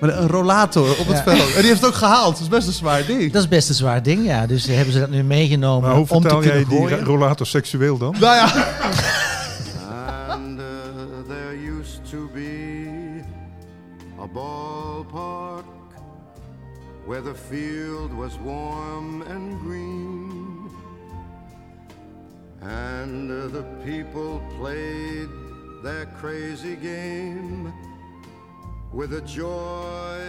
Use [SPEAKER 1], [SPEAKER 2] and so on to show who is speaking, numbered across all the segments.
[SPEAKER 1] Maar een rollator op het veld. En die heeft het ook gehaald. Dat is best een zwaar ding.
[SPEAKER 2] Dat is best een zwaar ding, ja. Dus hebben ze dat nu meegenomen
[SPEAKER 3] Maar hoe
[SPEAKER 2] om te
[SPEAKER 3] vertel jij
[SPEAKER 2] kunnen
[SPEAKER 3] die
[SPEAKER 2] gooien? Oh,
[SPEAKER 3] ra- rollator seksueel dan?
[SPEAKER 1] Nou ja,
[SPEAKER 4] And uh, there used to be a ballpark where the field was warm and green. And uh, the people played their crazy game with a joy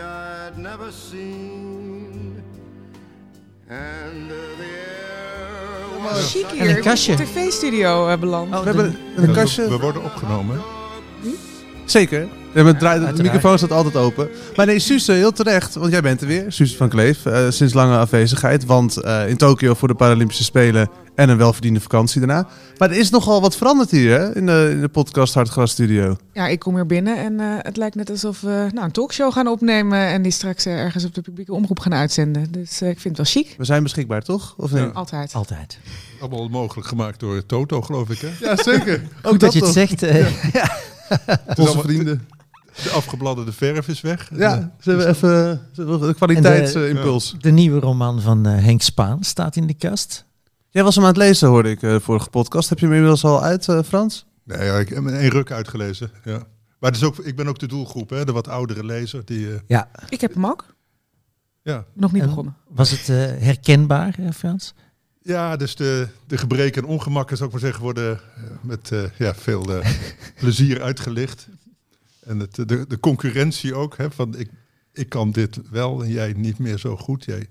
[SPEAKER 4] I'd never seen. And uh, the air was
[SPEAKER 5] Chic
[SPEAKER 2] En een
[SPEAKER 5] hier,
[SPEAKER 2] kastje.
[SPEAKER 5] op de tv-studio eh, beland.
[SPEAKER 1] we hebben een kastje.
[SPEAKER 3] We, we worden opgenomen.
[SPEAKER 1] Zeker. Ja, maar het draait- de
[SPEAKER 2] Hm? Uiteraard.
[SPEAKER 1] microfoon staat altijd open. Maar nee, Suze, heel terecht. Want jij bent er weer. Suze van Kleef. eh, sinds lange afwezigheid. Want eh, in Tokio voor de Paralympische Spelen. En een welverdiende vakantie daarna. Maar er is nogal wat veranderd hier hè? In, de, in de podcast Hartgras Studio.
[SPEAKER 5] Ja, ik kom hier binnen en eh, het lijkt net alsof we nou, een talkshow gaan opnemen en die straks eh, ergens op de publieke omroep gaan uitzenden. Dus eh, ik vind het wel chic.
[SPEAKER 1] We zijn beschikbaar, toch? Of nee?
[SPEAKER 3] Ja.
[SPEAKER 5] Altijd.
[SPEAKER 2] Altijd.
[SPEAKER 3] Allemaal mogelijk gemaakt door Toto, geloof ik. Hè?
[SPEAKER 1] Ja, zeker. Ook
[SPEAKER 2] Goed dat, je het
[SPEAKER 1] toch?
[SPEAKER 2] zegt. eh,
[SPEAKER 3] Het is
[SPEAKER 1] Onze
[SPEAKER 3] allemaal-
[SPEAKER 1] vrienden.
[SPEAKER 3] De afgebladderde verf is weg.
[SPEAKER 1] Ja, ze hebben even eh, ze hebben een
[SPEAKER 2] En
[SPEAKER 1] kwaliteitsimpuls.
[SPEAKER 2] De nieuwe roman van eh, Henk Spaan staat in de kast.
[SPEAKER 1] Jij was hem aan het lezen, hoorde ik, eh, vorige podcast. Heb je hem inmiddels al uit, eh, Frans?
[SPEAKER 3] Nee, ja, ik heb in één ruk uitgelezen. Ja. Maar het is ook, ik ben ook de doelgroep, hè? de wat oudere lezer. Die, eh,
[SPEAKER 2] Ja.
[SPEAKER 5] Ik heb hem ook.
[SPEAKER 3] ja.
[SPEAKER 5] Nog niet
[SPEAKER 2] En-
[SPEAKER 5] begonnen.
[SPEAKER 2] Was het eh, herkenbaar, eh, Frans?
[SPEAKER 3] ja, dus de, de gebreken en ongemakken, zou ik maar zeggen, worden eh, met eh, ja, veel eh, plezier uitgelicht. En het, eh, de, de concurrentie ook, hè, van ik, ik kan dit wel en jij niet meer zo goed. Jij,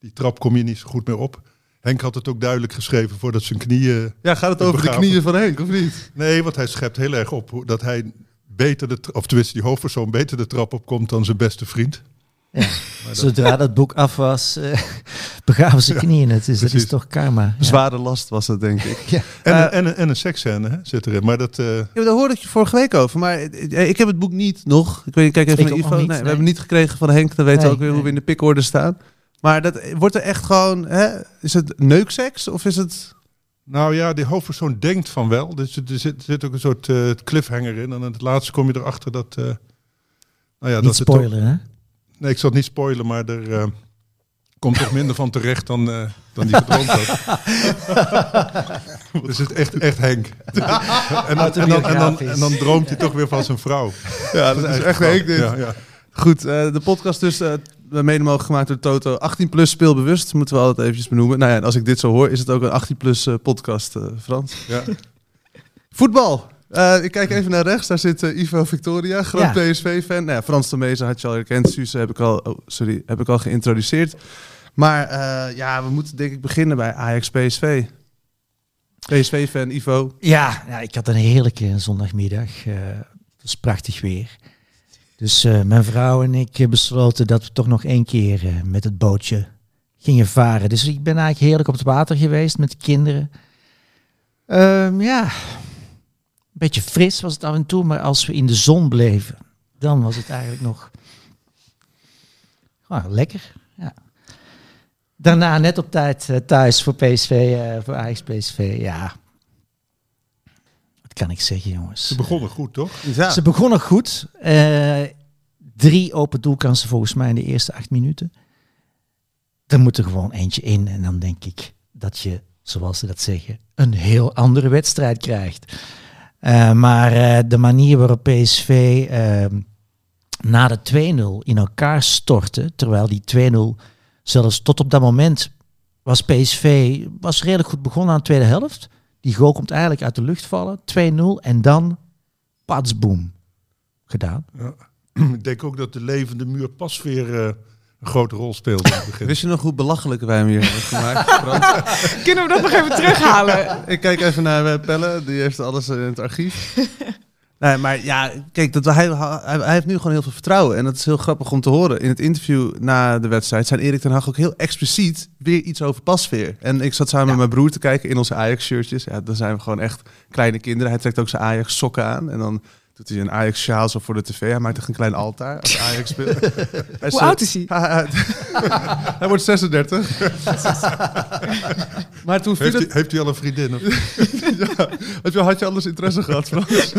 [SPEAKER 3] die trap kom je niet zo goed meer op. Henk had het ook duidelijk geschreven voordat zijn knieën
[SPEAKER 1] Ja, gaat het
[SPEAKER 3] over de knieën
[SPEAKER 1] van Henk, of niet?
[SPEAKER 3] Nee, want hij schept heel erg op hoe- dat hij beter de, tra- of tenminste die hoofdpersoon beter de trap opkomt dan zijn beste vriend. dat-
[SPEAKER 2] Zodra dat boek af was, eh, begaven ze knieën het. Dus dat is
[SPEAKER 3] precies.
[SPEAKER 2] toch karma. Ja.
[SPEAKER 1] Zware last was dat, denk ik.
[SPEAKER 2] Ja.
[SPEAKER 3] En,
[SPEAKER 1] Eh,
[SPEAKER 3] een, en, een, en een seksscène hè, zit erin. Maar dat, eh,
[SPEAKER 1] Ja, maar daar hoorde ik je vorige week over, maar eh, ik heb het boek niet nog. Ik weet niet, kijk even
[SPEAKER 2] Ik
[SPEAKER 1] naar
[SPEAKER 2] ook
[SPEAKER 1] Ivo.
[SPEAKER 2] nog
[SPEAKER 1] Nee,
[SPEAKER 2] niet,
[SPEAKER 1] We
[SPEAKER 2] nee.
[SPEAKER 1] hebben niet gekregen van Henk, dan weten we
[SPEAKER 2] Nee,
[SPEAKER 1] ook weer hoe
[SPEAKER 2] nee.
[SPEAKER 1] we in de pikorde staan. Maar dat, eh, wordt er echt gewoon, hè? is het neukseks of is het...
[SPEAKER 3] nou ja, die hoofdpersoon denkt van wel. Dus er zit, zit ook een soort eh, cliffhanger in. En aan het laatste kom je erachter dat. eh, nou ja,
[SPEAKER 2] Niet
[SPEAKER 3] dat het toch-
[SPEAKER 2] spoileren, hè?
[SPEAKER 3] nee, ik zal het niet spoilen, maar er eh, komt toch minder van terecht dan, eh, dan die gedroomd had. dus het is echt, echt Henk. en, dan, en, dan, en, dan, en dan droomt hij toch weer van zijn vrouw.
[SPEAKER 1] Ja,
[SPEAKER 3] eigenlijk wel. Ja, ja.
[SPEAKER 1] Goed, eh, de podcast dus eh, mede mogelijk gemaakt door Toto. 18 plus speelbewust, moeten we altijd eventjes benoemen. Nou ja, en als ik dit zo hoor, is het ook een 18 plus eh, podcast, eh, Frans.
[SPEAKER 3] Ja.
[SPEAKER 1] Voetbal. Eh, ik kijk even naar rechts. Daar zit eh, Ivo Victoria, groot
[SPEAKER 2] Ja.
[SPEAKER 1] PSV-fan. Nou ja, Frans de Mezen had je al herkend. Suze heb ik al, oh, sorry, heb ik al geïntroduceerd. Maar eh, ja, we moeten denk ik beginnen bij Ajax-PSV. PSV-fan Ivo.
[SPEAKER 2] Ja, ja, ik had een heerlijke zondagmiddag. eh, het was prachtig weer. Dus eh, mijn vrouw en ik eh, besloten dat we toch nog één keer eh, met het bootje gingen varen. Dus ik ben eigenlijk heerlijk op het water geweest met de kinderen. Ehm, ja, een beetje fris was het af en toe, maar als we in de zon bleven, dan was het eigenlijk nog ah, lekker. Ja. Daarna net op tijd eh, thuis voor PSV, eh, voor Ajax PSV. Ja, wat kan ik zeggen, jongens?
[SPEAKER 3] Ze begonnen goed, toch?
[SPEAKER 1] Ja.
[SPEAKER 2] Ze begonnen goed. Eh, drie open doelkansen volgens mij in de eerste acht minuten. Er moet er gewoon eentje in. En dan denk ik dat je, zoals ze dat zeggen, een heel andere wedstrijd krijgt. Eh, maar eh, de manier waarop PSV eh, na de 2-0 in elkaar stortte. Terwijl die 2-0 zelfs tot op dat moment was PSV was redelijk goed begonnen aan de tweede helft. Die goal komt eigenlijk uit de lucht vallen. 2-0 en dan patsboom gedaan.
[SPEAKER 3] Ik denk ook dat de levende muur pas weer eh, een grote rol speelde in het begin.
[SPEAKER 1] Wist je nog hoe belachelijk wij hem hier hebben gemaakt? Frans?
[SPEAKER 5] Kunnen we dat nog even terughalen?
[SPEAKER 1] Ik kijk even naar eh, Pelle, die heeft alles eh, in het archief. Nee, maar ja, kijk, dat, hij, hij, hij heeft nu gewoon heel veel vertrouwen. En dat is heel grappig om te horen. In het interview na de wedstrijd zijn Erik ten Hag ook heel expliciet weer iets over pasveer. En ik zat samen met mijn broer te kijken in onze Ajax-shirtjes. Ja, dan zijn we gewoon echt kleine kinderen. Hij trekt ook zijn Ajax-sokken aan. En dan doet hij een Ajax-sjaal zo voor de tv. Hij maakt echt een klein altaar als Ajax speelt.
[SPEAKER 5] Hoe oud is hij?
[SPEAKER 1] hij wordt 36. maar toen viel
[SPEAKER 3] Heeft,
[SPEAKER 1] het
[SPEAKER 3] u- heeft u al een vriendin? Of?
[SPEAKER 1] heb je, had je alles interesse gehad, Frans?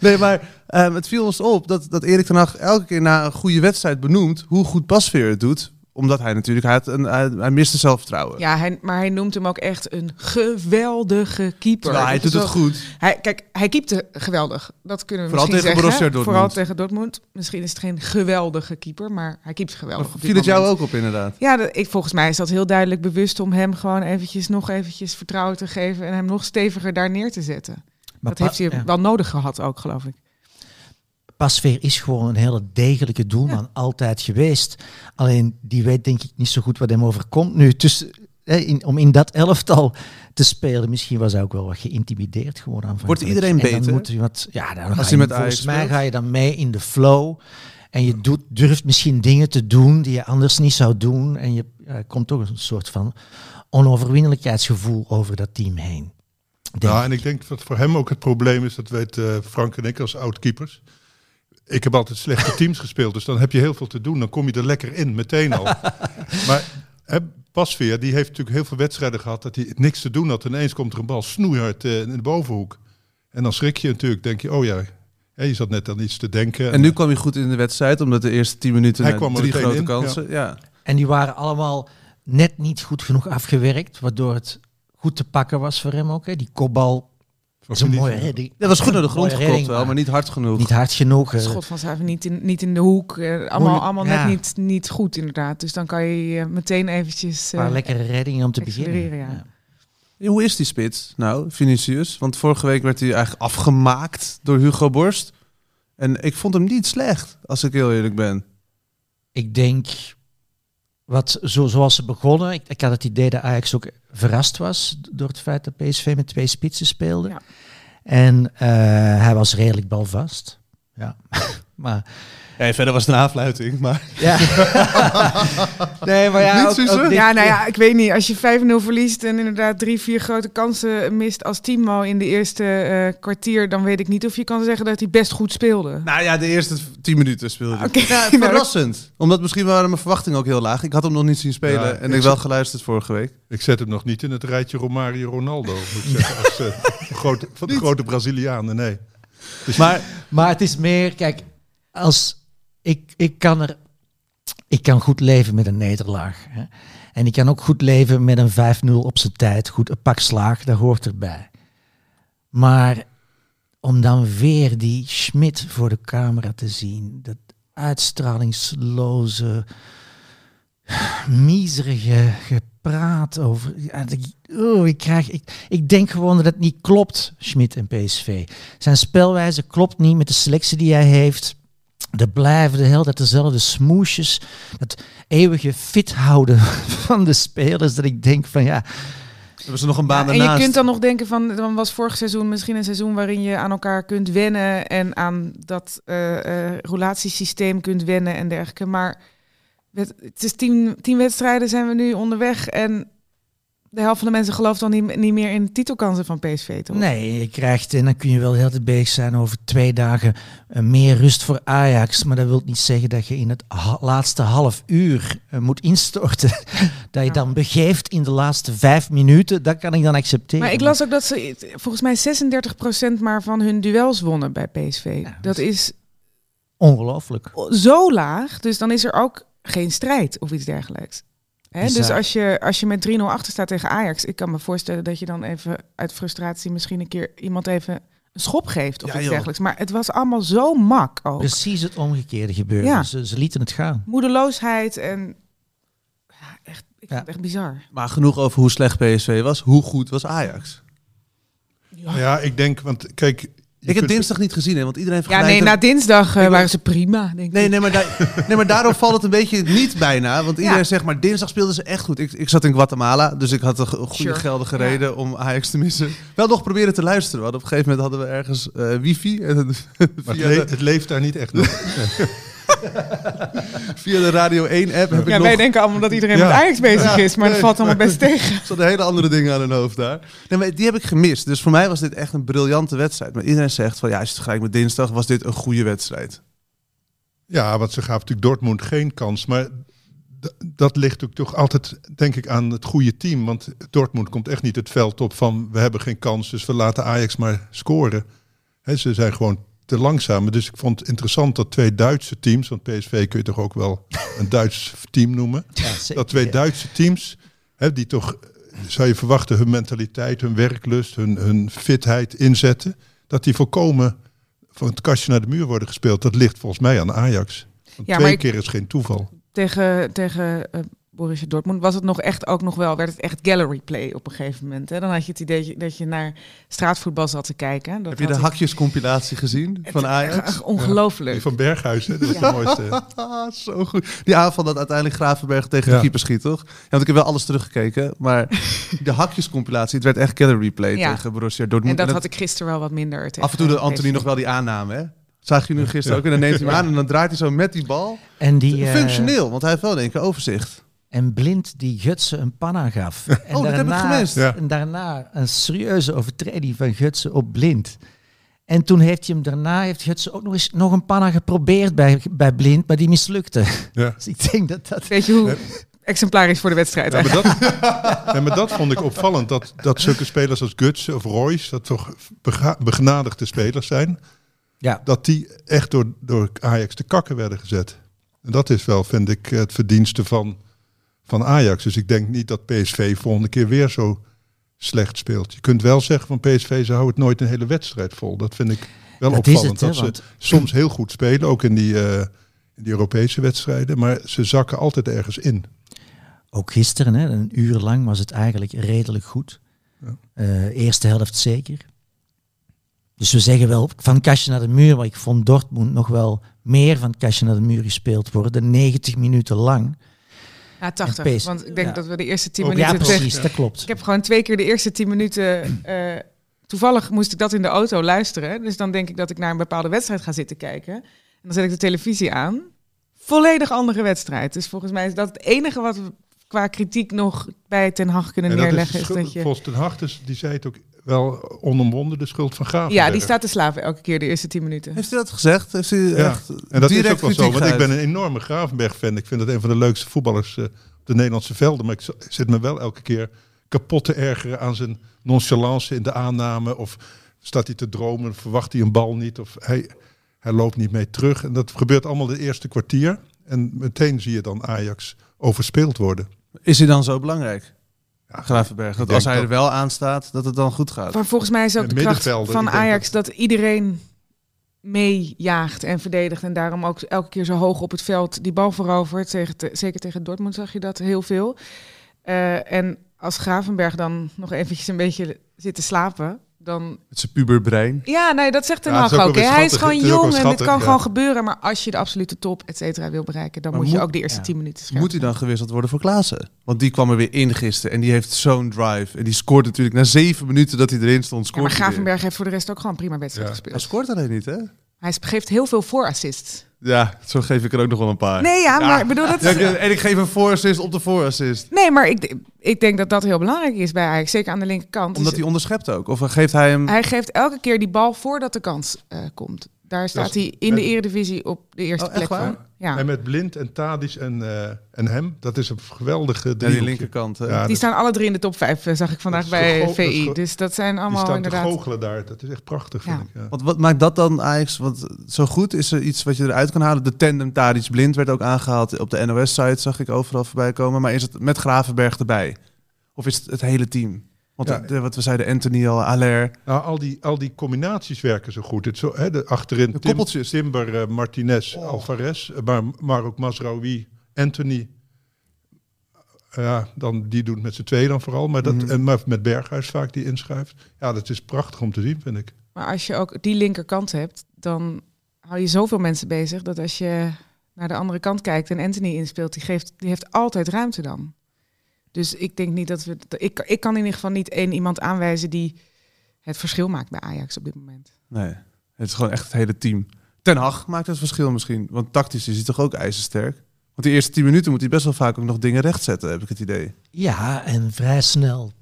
[SPEAKER 1] nee, maar ehm, het viel ons op dat, dat Erik ten Hag elke keer na een goede wedstrijd benoemt hoe goed Pasveer het doet. Omdat hij natuurlijk, hij, had een, hij, hij miste zelfvertrouwen.
[SPEAKER 5] Ja, hij, maar hij noemt hem ook echt een geweldige keeper.
[SPEAKER 1] Terwijl hij
[SPEAKER 5] Dat is
[SPEAKER 1] doet het
[SPEAKER 5] wel-
[SPEAKER 1] goed.
[SPEAKER 5] Hij, kijk, hij keepte geweldig. Dat kunnen we
[SPEAKER 1] Vooral
[SPEAKER 5] misschien
[SPEAKER 1] tegen
[SPEAKER 5] zeggen.
[SPEAKER 1] Borussia Dortmund.
[SPEAKER 5] Vooral tegen Dortmund. Misschien is het geen geweldige keeper, maar hij keept geweldig. op dit
[SPEAKER 1] Viel het jou
[SPEAKER 5] moment.
[SPEAKER 1] ook op, inderdaad?
[SPEAKER 5] Ja, dat- ik, volgens mij is dat heel duidelijk bewust om hem gewoon eventjes nog eventjes vertrouwen te geven en hem nog steviger daar neer te zetten.
[SPEAKER 2] Maar
[SPEAKER 5] dat heeft
[SPEAKER 2] pa-
[SPEAKER 5] hij
[SPEAKER 2] ja.
[SPEAKER 5] wel nodig gehad ook, geloof ik.
[SPEAKER 2] Pasveer is gewoon een hele degelijke doelman, altijd geweest. Alleen die weet denk ik niet zo goed wat hem overkomt nu. Dus hè, in, om in dat elftal te spelen, misschien was hij ook wel wat geïntimideerd gewoon aan.
[SPEAKER 1] iedereen beter?
[SPEAKER 2] ja, dan ga
[SPEAKER 1] hij
[SPEAKER 2] je-
[SPEAKER 1] met
[SPEAKER 2] volgens
[SPEAKER 1] Ajax
[SPEAKER 2] mij
[SPEAKER 1] speelt?
[SPEAKER 2] ga je dan mee in de flow. En je doet, durft misschien dingen te doen die je anders niet zou doen. En je ja, komt toch een soort van onoverwinnelijkheidsgevoel over dat team heen. Denk
[SPEAKER 3] Ja, en ik denk dat voor hem ook het probleem is, dat weet eh, Frank en ik als oud-keepers. Ik heb altijd slechte teams gespeeld, dus dan heb je heel veel te doen. Dan kom je er lekker in, meteen al. maar hè, Pasveer, die heeft natuurlijk heel veel wedstrijden gehad dat hij niks te doen had. En ineens komt er een bal snoeihard eh, in de bovenhoek. En dan schrik je natuurlijk, denk je, oh ja, hè, je zat net aan iets te denken.
[SPEAKER 1] En nu kwam hij goed in de wedstrijd, omdat de eerste 10 minuten
[SPEAKER 3] Hij
[SPEAKER 1] eh,
[SPEAKER 3] kwam er
[SPEAKER 1] drie
[SPEAKER 3] meteen
[SPEAKER 1] grote
[SPEAKER 3] in,
[SPEAKER 1] kansen. Ja.
[SPEAKER 2] En die waren allemaal net niet goed genoeg afgewerkt, waardoor het goed te pakken was voor hem ook. Hè. Die kopbal is een mooie redding.
[SPEAKER 1] Dat was goed naar de grond
[SPEAKER 2] Mooie
[SPEAKER 1] gekopt
[SPEAKER 2] redding,
[SPEAKER 1] wel, maar niet hard genoeg.
[SPEAKER 2] niet hard genoeg. eh.
[SPEAKER 5] Schot van Zuiver niet in, niet in de hoek. eh, allemaal
[SPEAKER 2] Moeilijk,
[SPEAKER 5] allemaal
[SPEAKER 2] ja.
[SPEAKER 5] net niet, niet goed inderdaad. Dus dan kan je eh, meteen eventjes... eh,
[SPEAKER 2] Een paar lekkere reddingen om te
[SPEAKER 5] accelereren,
[SPEAKER 2] beginnen.
[SPEAKER 5] ja.
[SPEAKER 1] Ja, Hoe is die spits nou, Vinicius? Want vorige week werd hij eigenlijk afgemaakt door Hugo Borst. En ik vond hem niet slecht, als ik heel eerlijk ben.
[SPEAKER 2] Ik denk, wat, zo, zoals ze begonnen, ik, ik had het idee dat Ajax ook verrast was door het feit dat PSV met twee spitsen speelde.
[SPEAKER 5] Ja.
[SPEAKER 2] En eh, hij was redelijk balvast. Ja. maar,
[SPEAKER 1] Ja, verder was het een afluiting, maar...
[SPEAKER 2] ja. nee, maar ja,
[SPEAKER 1] Niet,
[SPEAKER 2] ook,
[SPEAKER 1] Suze?
[SPEAKER 2] ook dit-
[SPEAKER 5] Ja, nou ja, ik weet niet. Als je 5-0 verliest en inderdaad drie, vier grote kansen mist als Timo in de eerste eh, kwartier, dan weet ik niet of je kan zeggen dat hij best goed speelde.
[SPEAKER 1] Nou ja, de eerste tien minuten speelde hij.
[SPEAKER 5] Oké.
[SPEAKER 1] Ja, verrassend. Omdat misschien waren mijn verwachtingen ook heel laag. Ik had hem nog niet zien spelen
[SPEAKER 3] Ja,
[SPEAKER 1] en
[SPEAKER 3] ik
[SPEAKER 1] ik wel
[SPEAKER 3] zag-
[SPEAKER 1] geluisterd vorige week.
[SPEAKER 3] Ik zet hem nog niet in het rijtje Romario Ronaldo, moet ik zeggen. Als, eh, grote, van de grote Brazilianen, nee.
[SPEAKER 1] Maar
[SPEAKER 2] Dus- Maar het is meer, kijk, als ik, ik kan er, ik kan goed leven met een nederlaag. Hè? En ik kan ook goed leven met een 5-0 op zijn tijd. Goed, een pak slaag, dat hoort erbij. Maar om dan weer die Schmidt voor de camera te zien, dat uitstralingsloze, miserige gepraat over. ja, dat ik- Oh, ik, krijg, ik, ik denk gewoon dat het niet klopt, Schmidt en PSV. Zijn spelwijze klopt niet met de selectie die hij heeft. Er blijven de hele tijd dezelfde smoesjes. Dat eeuwige fit houden van de spelers. Dat ik denk van ja,
[SPEAKER 1] hebben ze nog een baan
[SPEAKER 5] Ja, en
[SPEAKER 1] daarnaast.
[SPEAKER 5] je kunt dan nog denken van, dan was vorig seizoen misschien een seizoen waarin je aan elkaar kunt wennen en aan dat eh, eh, relatiesysteem kunt wennen en dergelijke. Maar het het is tien, tien wedstrijden zijn we nu onderweg en de helft van de mensen gelooft dan niet, niet meer in de titelkansen van PSV, toch?
[SPEAKER 2] Nee, je krijgt, en dan kun je wel heel tijd bezig zijn over twee dagen eh, meer rust voor Ajax. Maar dat wil niet zeggen dat je in het ha- laatste half uur eh, moet instorten. dat je
[SPEAKER 5] Ja.
[SPEAKER 2] dan begeeft in de laatste vijf minuten. Dat kan ik dan accepteren.
[SPEAKER 5] Maar ik las ook dat ze eh, volgens mij 36% maar van hun duels wonnen bij PSV.
[SPEAKER 2] Ja,
[SPEAKER 5] dat
[SPEAKER 2] dat
[SPEAKER 5] is
[SPEAKER 2] Ongelooflijk.
[SPEAKER 5] o- zo laag, dus dan is er ook geen strijd of iets dergelijks. Hè?
[SPEAKER 2] Bizar.
[SPEAKER 5] Dus als je, als je met 3-0 achter staat tegen Ajax, ik kan me voorstellen dat je dan even uit frustratie misschien een keer iemand even een een schop geeft of
[SPEAKER 1] Ja,
[SPEAKER 5] iets
[SPEAKER 1] joh.
[SPEAKER 5] dergelijks. Maar het was allemaal zo mak ook.
[SPEAKER 2] Precies het omgekeerde gebeurde.
[SPEAKER 5] Ja.
[SPEAKER 2] Ze, ze lieten het gaan.
[SPEAKER 5] Moedeloosheid en... Ja, echt,
[SPEAKER 2] Ja.
[SPEAKER 5] ik vind het echt bizar.
[SPEAKER 1] Maar genoeg over hoe slecht PSV was. Hoe goed was Ajax?
[SPEAKER 3] Nou ja, ik denk, want kijk... je
[SPEAKER 1] ik heb
[SPEAKER 3] kunt-
[SPEAKER 1] dinsdag niet gezien, hè, want iedereen
[SPEAKER 5] Ja,
[SPEAKER 1] vergelijkt
[SPEAKER 5] nee,
[SPEAKER 1] hem-
[SPEAKER 5] na dinsdag eh,
[SPEAKER 1] Ik wil-
[SPEAKER 5] waren ze prima, denk
[SPEAKER 1] Nee,
[SPEAKER 5] ik.
[SPEAKER 1] nee, maar daar- nee, maar daardoor valt het een beetje niet bijna. Want iedereen
[SPEAKER 5] Ja.
[SPEAKER 1] zegt, maar dinsdag speelden ze echt goed. Ik, ik zat in Guatemala, dus ik had een go- goede
[SPEAKER 5] Sure.
[SPEAKER 1] geldige reden om Ajax te missen. Wel nog proberen te luisteren. Want op een gegeven moment hadden we ergens eh, wifi. En het-
[SPEAKER 3] Maar
[SPEAKER 1] via,
[SPEAKER 3] het, le-
[SPEAKER 1] de,
[SPEAKER 3] het leeft daar niet echt door.
[SPEAKER 1] via de Radio 1-app heb
[SPEAKER 5] Ja,
[SPEAKER 1] ik
[SPEAKER 5] wij
[SPEAKER 1] nog
[SPEAKER 5] denken allemaal dat iedereen
[SPEAKER 3] Ja.
[SPEAKER 5] met Ajax
[SPEAKER 1] Ja,
[SPEAKER 5] bezig is, maar
[SPEAKER 1] nee.
[SPEAKER 5] dat valt allemaal best tegen.
[SPEAKER 1] Er zaten hele andere dingen aan hun hoofd daar. Nee, maar die heb ik gemist. Dus voor mij was dit echt een briljante wedstrijd. Maar iedereen zegt van ja, als je het vergelijkt met dinsdag, was dit een goede wedstrijd.
[SPEAKER 3] Ja, want ze gaven natuurlijk Dortmund geen kans. Maar d- dat ligt ook toch altijd, denk ik, aan het goede team. Want Dortmund komt echt niet het veld op van we hebben geen kans, dus we laten Ajax maar scoren. Hè, ze zijn gewoon te langzaam. Dus ik vond het interessant dat twee Duitse teams, want PSV kun je toch ook wel een Duits team noemen.
[SPEAKER 2] Ja, zeker.
[SPEAKER 3] Dat twee Duitse teams, hè, die toch, eh, zou je verwachten, hun mentaliteit, hun werklust, hun, hun fitheid inzetten. Dat die volkomen van het kastje naar de muur worden gespeeld. Dat ligt volgens mij aan Ajax. Want
[SPEAKER 5] Ja, maar
[SPEAKER 3] twee
[SPEAKER 5] ik-
[SPEAKER 3] keer is geen toeval.
[SPEAKER 5] tegen, tegen eh Borussia Dortmund was het nog echt ook nog wel, werd het echt gallery play op een gegeven moment. Hè? Dan had je het idee dat je- dat je naar straatvoetbal zat te kijken. Dat
[SPEAKER 1] heb je de
[SPEAKER 5] had ik-
[SPEAKER 1] hakjescompilatie gezien van Ajax?
[SPEAKER 5] Echt Ongelooflijk.
[SPEAKER 3] Die van Berghuis, hè, dat is
[SPEAKER 5] Ja.
[SPEAKER 3] de mooiste.
[SPEAKER 1] Ah, zo goed. Die aanval dat uiteindelijk Gravenberg tegen de
[SPEAKER 3] Ja.
[SPEAKER 1] keeper schiet, toch? Ja, want ik heb wel alles teruggekeken. Maar de hakjescompilatie, het werd echt killer replay
[SPEAKER 5] Ja.
[SPEAKER 1] tegen Borussia Dortmund.
[SPEAKER 5] En dat
[SPEAKER 1] En
[SPEAKER 5] had
[SPEAKER 1] dat-
[SPEAKER 5] ik gisteren wel wat minder. tegen
[SPEAKER 1] af en toe de
[SPEAKER 5] PSV.
[SPEAKER 1] Anthony nog wel die aanname, hè? Zag je nu gisteren ook? En dan neemt hij hem aan en dan draait hij zo met die bal.
[SPEAKER 2] En, die, eh,
[SPEAKER 1] Functioneel, want hij heeft wel in één keer overzicht.
[SPEAKER 2] en blind die Gutsen een panna gaf. En
[SPEAKER 1] Oh, dat heb ik gemist.
[SPEAKER 3] Ja.
[SPEAKER 2] En daarna een serieuze overtreding van Gutsen op blind. En toen heeft hij hem daarna, heeft Gutsen ook nog eens nog een panna geprobeerd bij, bij blind, maar die mislukte.
[SPEAKER 3] Ja.
[SPEAKER 2] Dus ik denk dat dat...
[SPEAKER 5] Weet je hoe exemplarisch voor de wedstrijd
[SPEAKER 3] Ja, maar,
[SPEAKER 5] eigenlijk.
[SPEAKER 3] dat, ja, maar dat vond ik opvallend. Dat, dat zulke spelers als Guts of Royce, dat toch bega- begnadigde spelers zijn.
[SPEAKER 2] Ja,
[SPEAKER 3] Dat die echt door, door Ajax te kakken werden gezet. En dat is wel, vind ik, het verdienste van, van Ajax. Dus ik denk niet dat PSV volgende keer weer zo slecht speelt. Je kunt wel zeggen van PSV, ze houden het nooit een hele wedstrijd vol. Dat vind ik wel
[SPEAKER 2] Dat is het,
[SPEAKER 3] opvallend.
[SPEAKER 2] hè,
[SPEAKER 3] dat ze
[SPEAKER 2] want-
[SPEAKER 3] soms heel goed spelen, ook in die, eh, in die Europese wedstrijden. Maar ze zakken altijd ergens in.
[SPEAKER 2] ook gisteren, hè, een uur lang was het eigenlijk redelijk goed.
[SPEAKER 3] Ja.
[SPEAKER 2] Eh, eerste helft zeker. Dus we zeggen wel van kastje naar de muur, maar ik vond Dortmund nog wel meer van kastje naar de muur gespeeld worden. 90 minuten lang.
[SPEAKER 5] Ja,
[SPEAKER 2] En
[SPEAKER 5] 80.
[SPEAKER 2] PSV.
[SPEAKER 5] Want ik denk
[SPEAKER 2] Ja.
[SPEAKER 5] dat we de eerste 10
[SPEAKER 3] Ook-
[SPEAKER 5] minuten...
[SPEAKER 2] Ja,
[SPEAKER 5] tegen-
[SPEAKER 2] precies, dat klopt.
[SPEAKER 5] Ik heb gewoon twee keer de eerste 10 minuten... eh, toevallig moest ik dat in de auto luisteren. Dus dan denk ik dat ik naar een bepaalde wedstrijd ga zitten kijken. En dan zet ik de televisie aan. Volledig andere wedstrijd. Dus volgens mij is dat het enige wat we qua kritiek nog bij Ten Hag kunnen
[SPEAKER 3] En dat is
[SPEAKER 5] neerleggen.
[SPEAKER 3] de
[SPEAKER 5] Is
[SPEAKER 3] schuld,
[SPEAKER 5] dat je...
[SPEAKER 3] volgens Ten Hag, dus die zei het ook wel onomwonden, de schuld van Graaf.
[SPEAKER 5] Ja, die staat te slaven elke keer de eerste 10 minuten.
[SPEAKER 1] Heeft hij dat gezegd? Heeft hij
[SPEAKER 3] Ja,
[SPEAKER 1] echt
[SPEAKER 3] En dat is
[SPEAKER 1] direct
[SPEAKER 3] ook wel zo,
[SPEAKER 1] kritiek
[SPEAKER 3] want ik ben
[SPEAKER 1] geuit?
[SPEAKER 3] een enorme Gravenberg-fan. Ik vind dat een van de leukste voetballers eh, op de Nederlandse velden. Maar ik z- zit me wel elke keer kapot te ergeren aan zijn nonchalance in de aanname. Of staat hij te dromen, verwacht hij een bal niet. Of hij, hij loopt niet mee terug. En dat gebeurt allemaal de eerste kwartier. En meteen zie je dan Ajax overspeeld worden.
[SPEAKER 1] Is hij dan zo belangrijk,
[SPEAKER 3] Ja,
[SPEAKER 1] Gravenberg? Dat
[SPEAKER 3] denk
[SPEAKER 1] als hij
[SPEAKER 3] dat-
[SPEAKER 1] er wel aan staat, dat het dan goed gaat?
[SPEAKER 5] Maar volgens mij is ook
[SPEAKER 3] En
[SPEAKER 5] de kracht
[SPEAKER 3] middenvelder,
[SPEAKER 5] van
[SPEAKER 3] ik denk
[SPEAKER 5] Ajax dat iedereen meejaagt en verdedigt. En daarom ook elke keer zo hoog op het veld die bal verovert. Tegen te- zeker tegen Dortmund zag je dat heel veel. Eh, en als Gravenberg dan nog eventjes een beetje zit te slapen, dan
[SPEAKER 1] Met zijn puberbrein.
[SPEAKER 5] ja, nee, dat zegt Ten
[SPEAKER 3] Ja, het
[SPEAKER 5] Hag
[SPEAKER 3] is ook
[SPEAKER 5] ook.
[SPEAKER 3] wel
[SPEAKER 5] hè.
[SPEAKER 3] weer
[SPEAKER 5] Hij is
[SPEAKER 3] schattig.
[SPEAKER 5] gewoon
[SPEAKER 3] Het is ook
[SPEAKER 5] jong
[SPEAKER 3] wel
[SPEAKER 5] en dit
[SPEAKER 3] schattig,
[SPEAKER 5] kan
[SPEAKER 3] ja.
[SPEAKER 5] gewoon gebeuren. Maar als je de absolute top, et cetera, wil bereiken, dan
[SPEAKER 1] Maar
[SPEAKER 5] moet, je
[SPEAKER 1] moet-
[SPEAKER 5] ook de eerste
[SPEAKER 2] ja.
[SPEAKER 5] 10 minuten scherp.
[SPEAKER 1] Moet hij dan gewisseld worden voor Klaassen? Want die kwam er weer in gisteren en die heeft zo'n drive. En die scoort natuurlijk na zeven minuten dat hij erin stond.
[SPEAKER 5] Ja,
[SPEAKER 1] Scoort
[SPEAKER 5] maar
[SPEAKER 1] hij weer.
[SPEAKER 5] Gravenberg heeft voor de rest ook gewoon prima wedstrijd
[SPEAKER 3] Ja.
[SPEAKER 1] Hij
[SPEAKER 5] gespeeld.
[SPEAKER 1] scoort alleen niet, hè?
[SPEAKER 5] Hij geeft heel veel voorassists.
[SPEAKER 1] Ja, zo geef ik er ook nog wel een paar.
[SPEAKER 5] Nee, ja, maar ik bedoel, dat
[SPEAKER 1] Ja,
[SPEAKER 5] is,
[SPEAKER 1] ik- en ik geef een voorassist op de voorassist.
[SPEAKER 5] Nee, maar ik, ik denk dat dat heel belangrijk is bij Ajax. Zeker aan de linkerkant.
[SPEAKER 1] Omdat
[SPEAKER 5] Dus
[SPEAKER 1] hij onderschept ook. Of geeft hij hem...
[SPEAKER 5] Hij geeft elke keer die bal voordat de kans eh, komt. Daar staat hij in de eredivisie op de eerste
[SPEAKER 1] Oh, echt
[SPEAKER 5] plek
[SPEAKER 1] waar?
[SPEAKER 5] van. Ja.
[SPEAKER 3] En met Blind en Tadis en, eh, en hem, dat is een geweldige
[SPEAKER 1] Aan die
[SPEAKER 3] driehoekje.
[SPEAKER 1] linkerkant. hè?
[SPEAKER 3] Ja,
[SPEAKER 5] Die
[SPEAKER 3] dat-
[SPEAKER 5] staan alle drie in de top vijf, eh, zag ik vandaag
[SPEAKER 3] is toch
[SPEAKER 5] bij
[SPEAKER 3] go- dat is
[SPEAKER 5] VI.
[SPEAKER 3] go-
[SPEAKER 5] Dus dat zijn
[SPEAKER 3] Die
[SPEAKER 5] allemaal
[SPEAKER 3] staan te
[SPEAKER 5] inderdaad...
[SPEAKER 3] goochelen daar. Dat is echt prachtig,
[SPEAKER 5] Ja.
[SPEAKER 3] vind ik. Ja.
[SPEAKER 1] Want wat maakt dat dan Ajax? Want zo goed is er iets wat je eruit kan halen. De tandem Tadic Blind werd ook aangehaald op de NOS-site, zag ik overal voorbij komen. Maar is het met Gravenberg erbij? Of is het het hele team? Want
[SPEAKER 3] Ja.
[SPEAKER 1] de- wat we zeiden, Anthony al, Aller.
[SPEAKER 3] Nou, al die, al die combinaties werken zo goed. Het zo, hè, de, achterin
[SPEAKER 1] De
[SPEAKER 3] Tim-
[SPEAKER 1] koppeltjes. Oh.
[SPEAKER 3] Timber, eh, Martinez, Alvarez, eh, maar, maar ook Masraoui, Anthony. Eh, Ja, dan, die doet met z'n tweeën dan vooral. Maar, dat,
[SPEAKER 1] Mhm.
[SPEAKER 3] en, maar met Berghuis vaak die inschrijft. Ja, dat is prachtig om te zien, vind ik.
[SPEAKER 5] Maar als je ook die linkerkant hebt, dan hou je zoveel mensen bezig dat als je naar de andere kant kijkt en Anthony inspeelt, die, geeft, die heeft altijd ruimte dan. Dus ik denk niet dat we. Ik, ik kan in ieder geval niet één iemand aanwijzen die het verschil maakt bij Ajax op dit moment.
[SPEAKER 1] Nee, het is gewoon echt het hele team. Ten Hag maakt het verschil misschien. Want tactisch is hij toch ook ijzersterk. Want die eerste 10 minuten moet hij best wel vaak ook nog dingen rechtzetten, heb ik het idee.
[SPEAKER 2] Ja, en vrij snel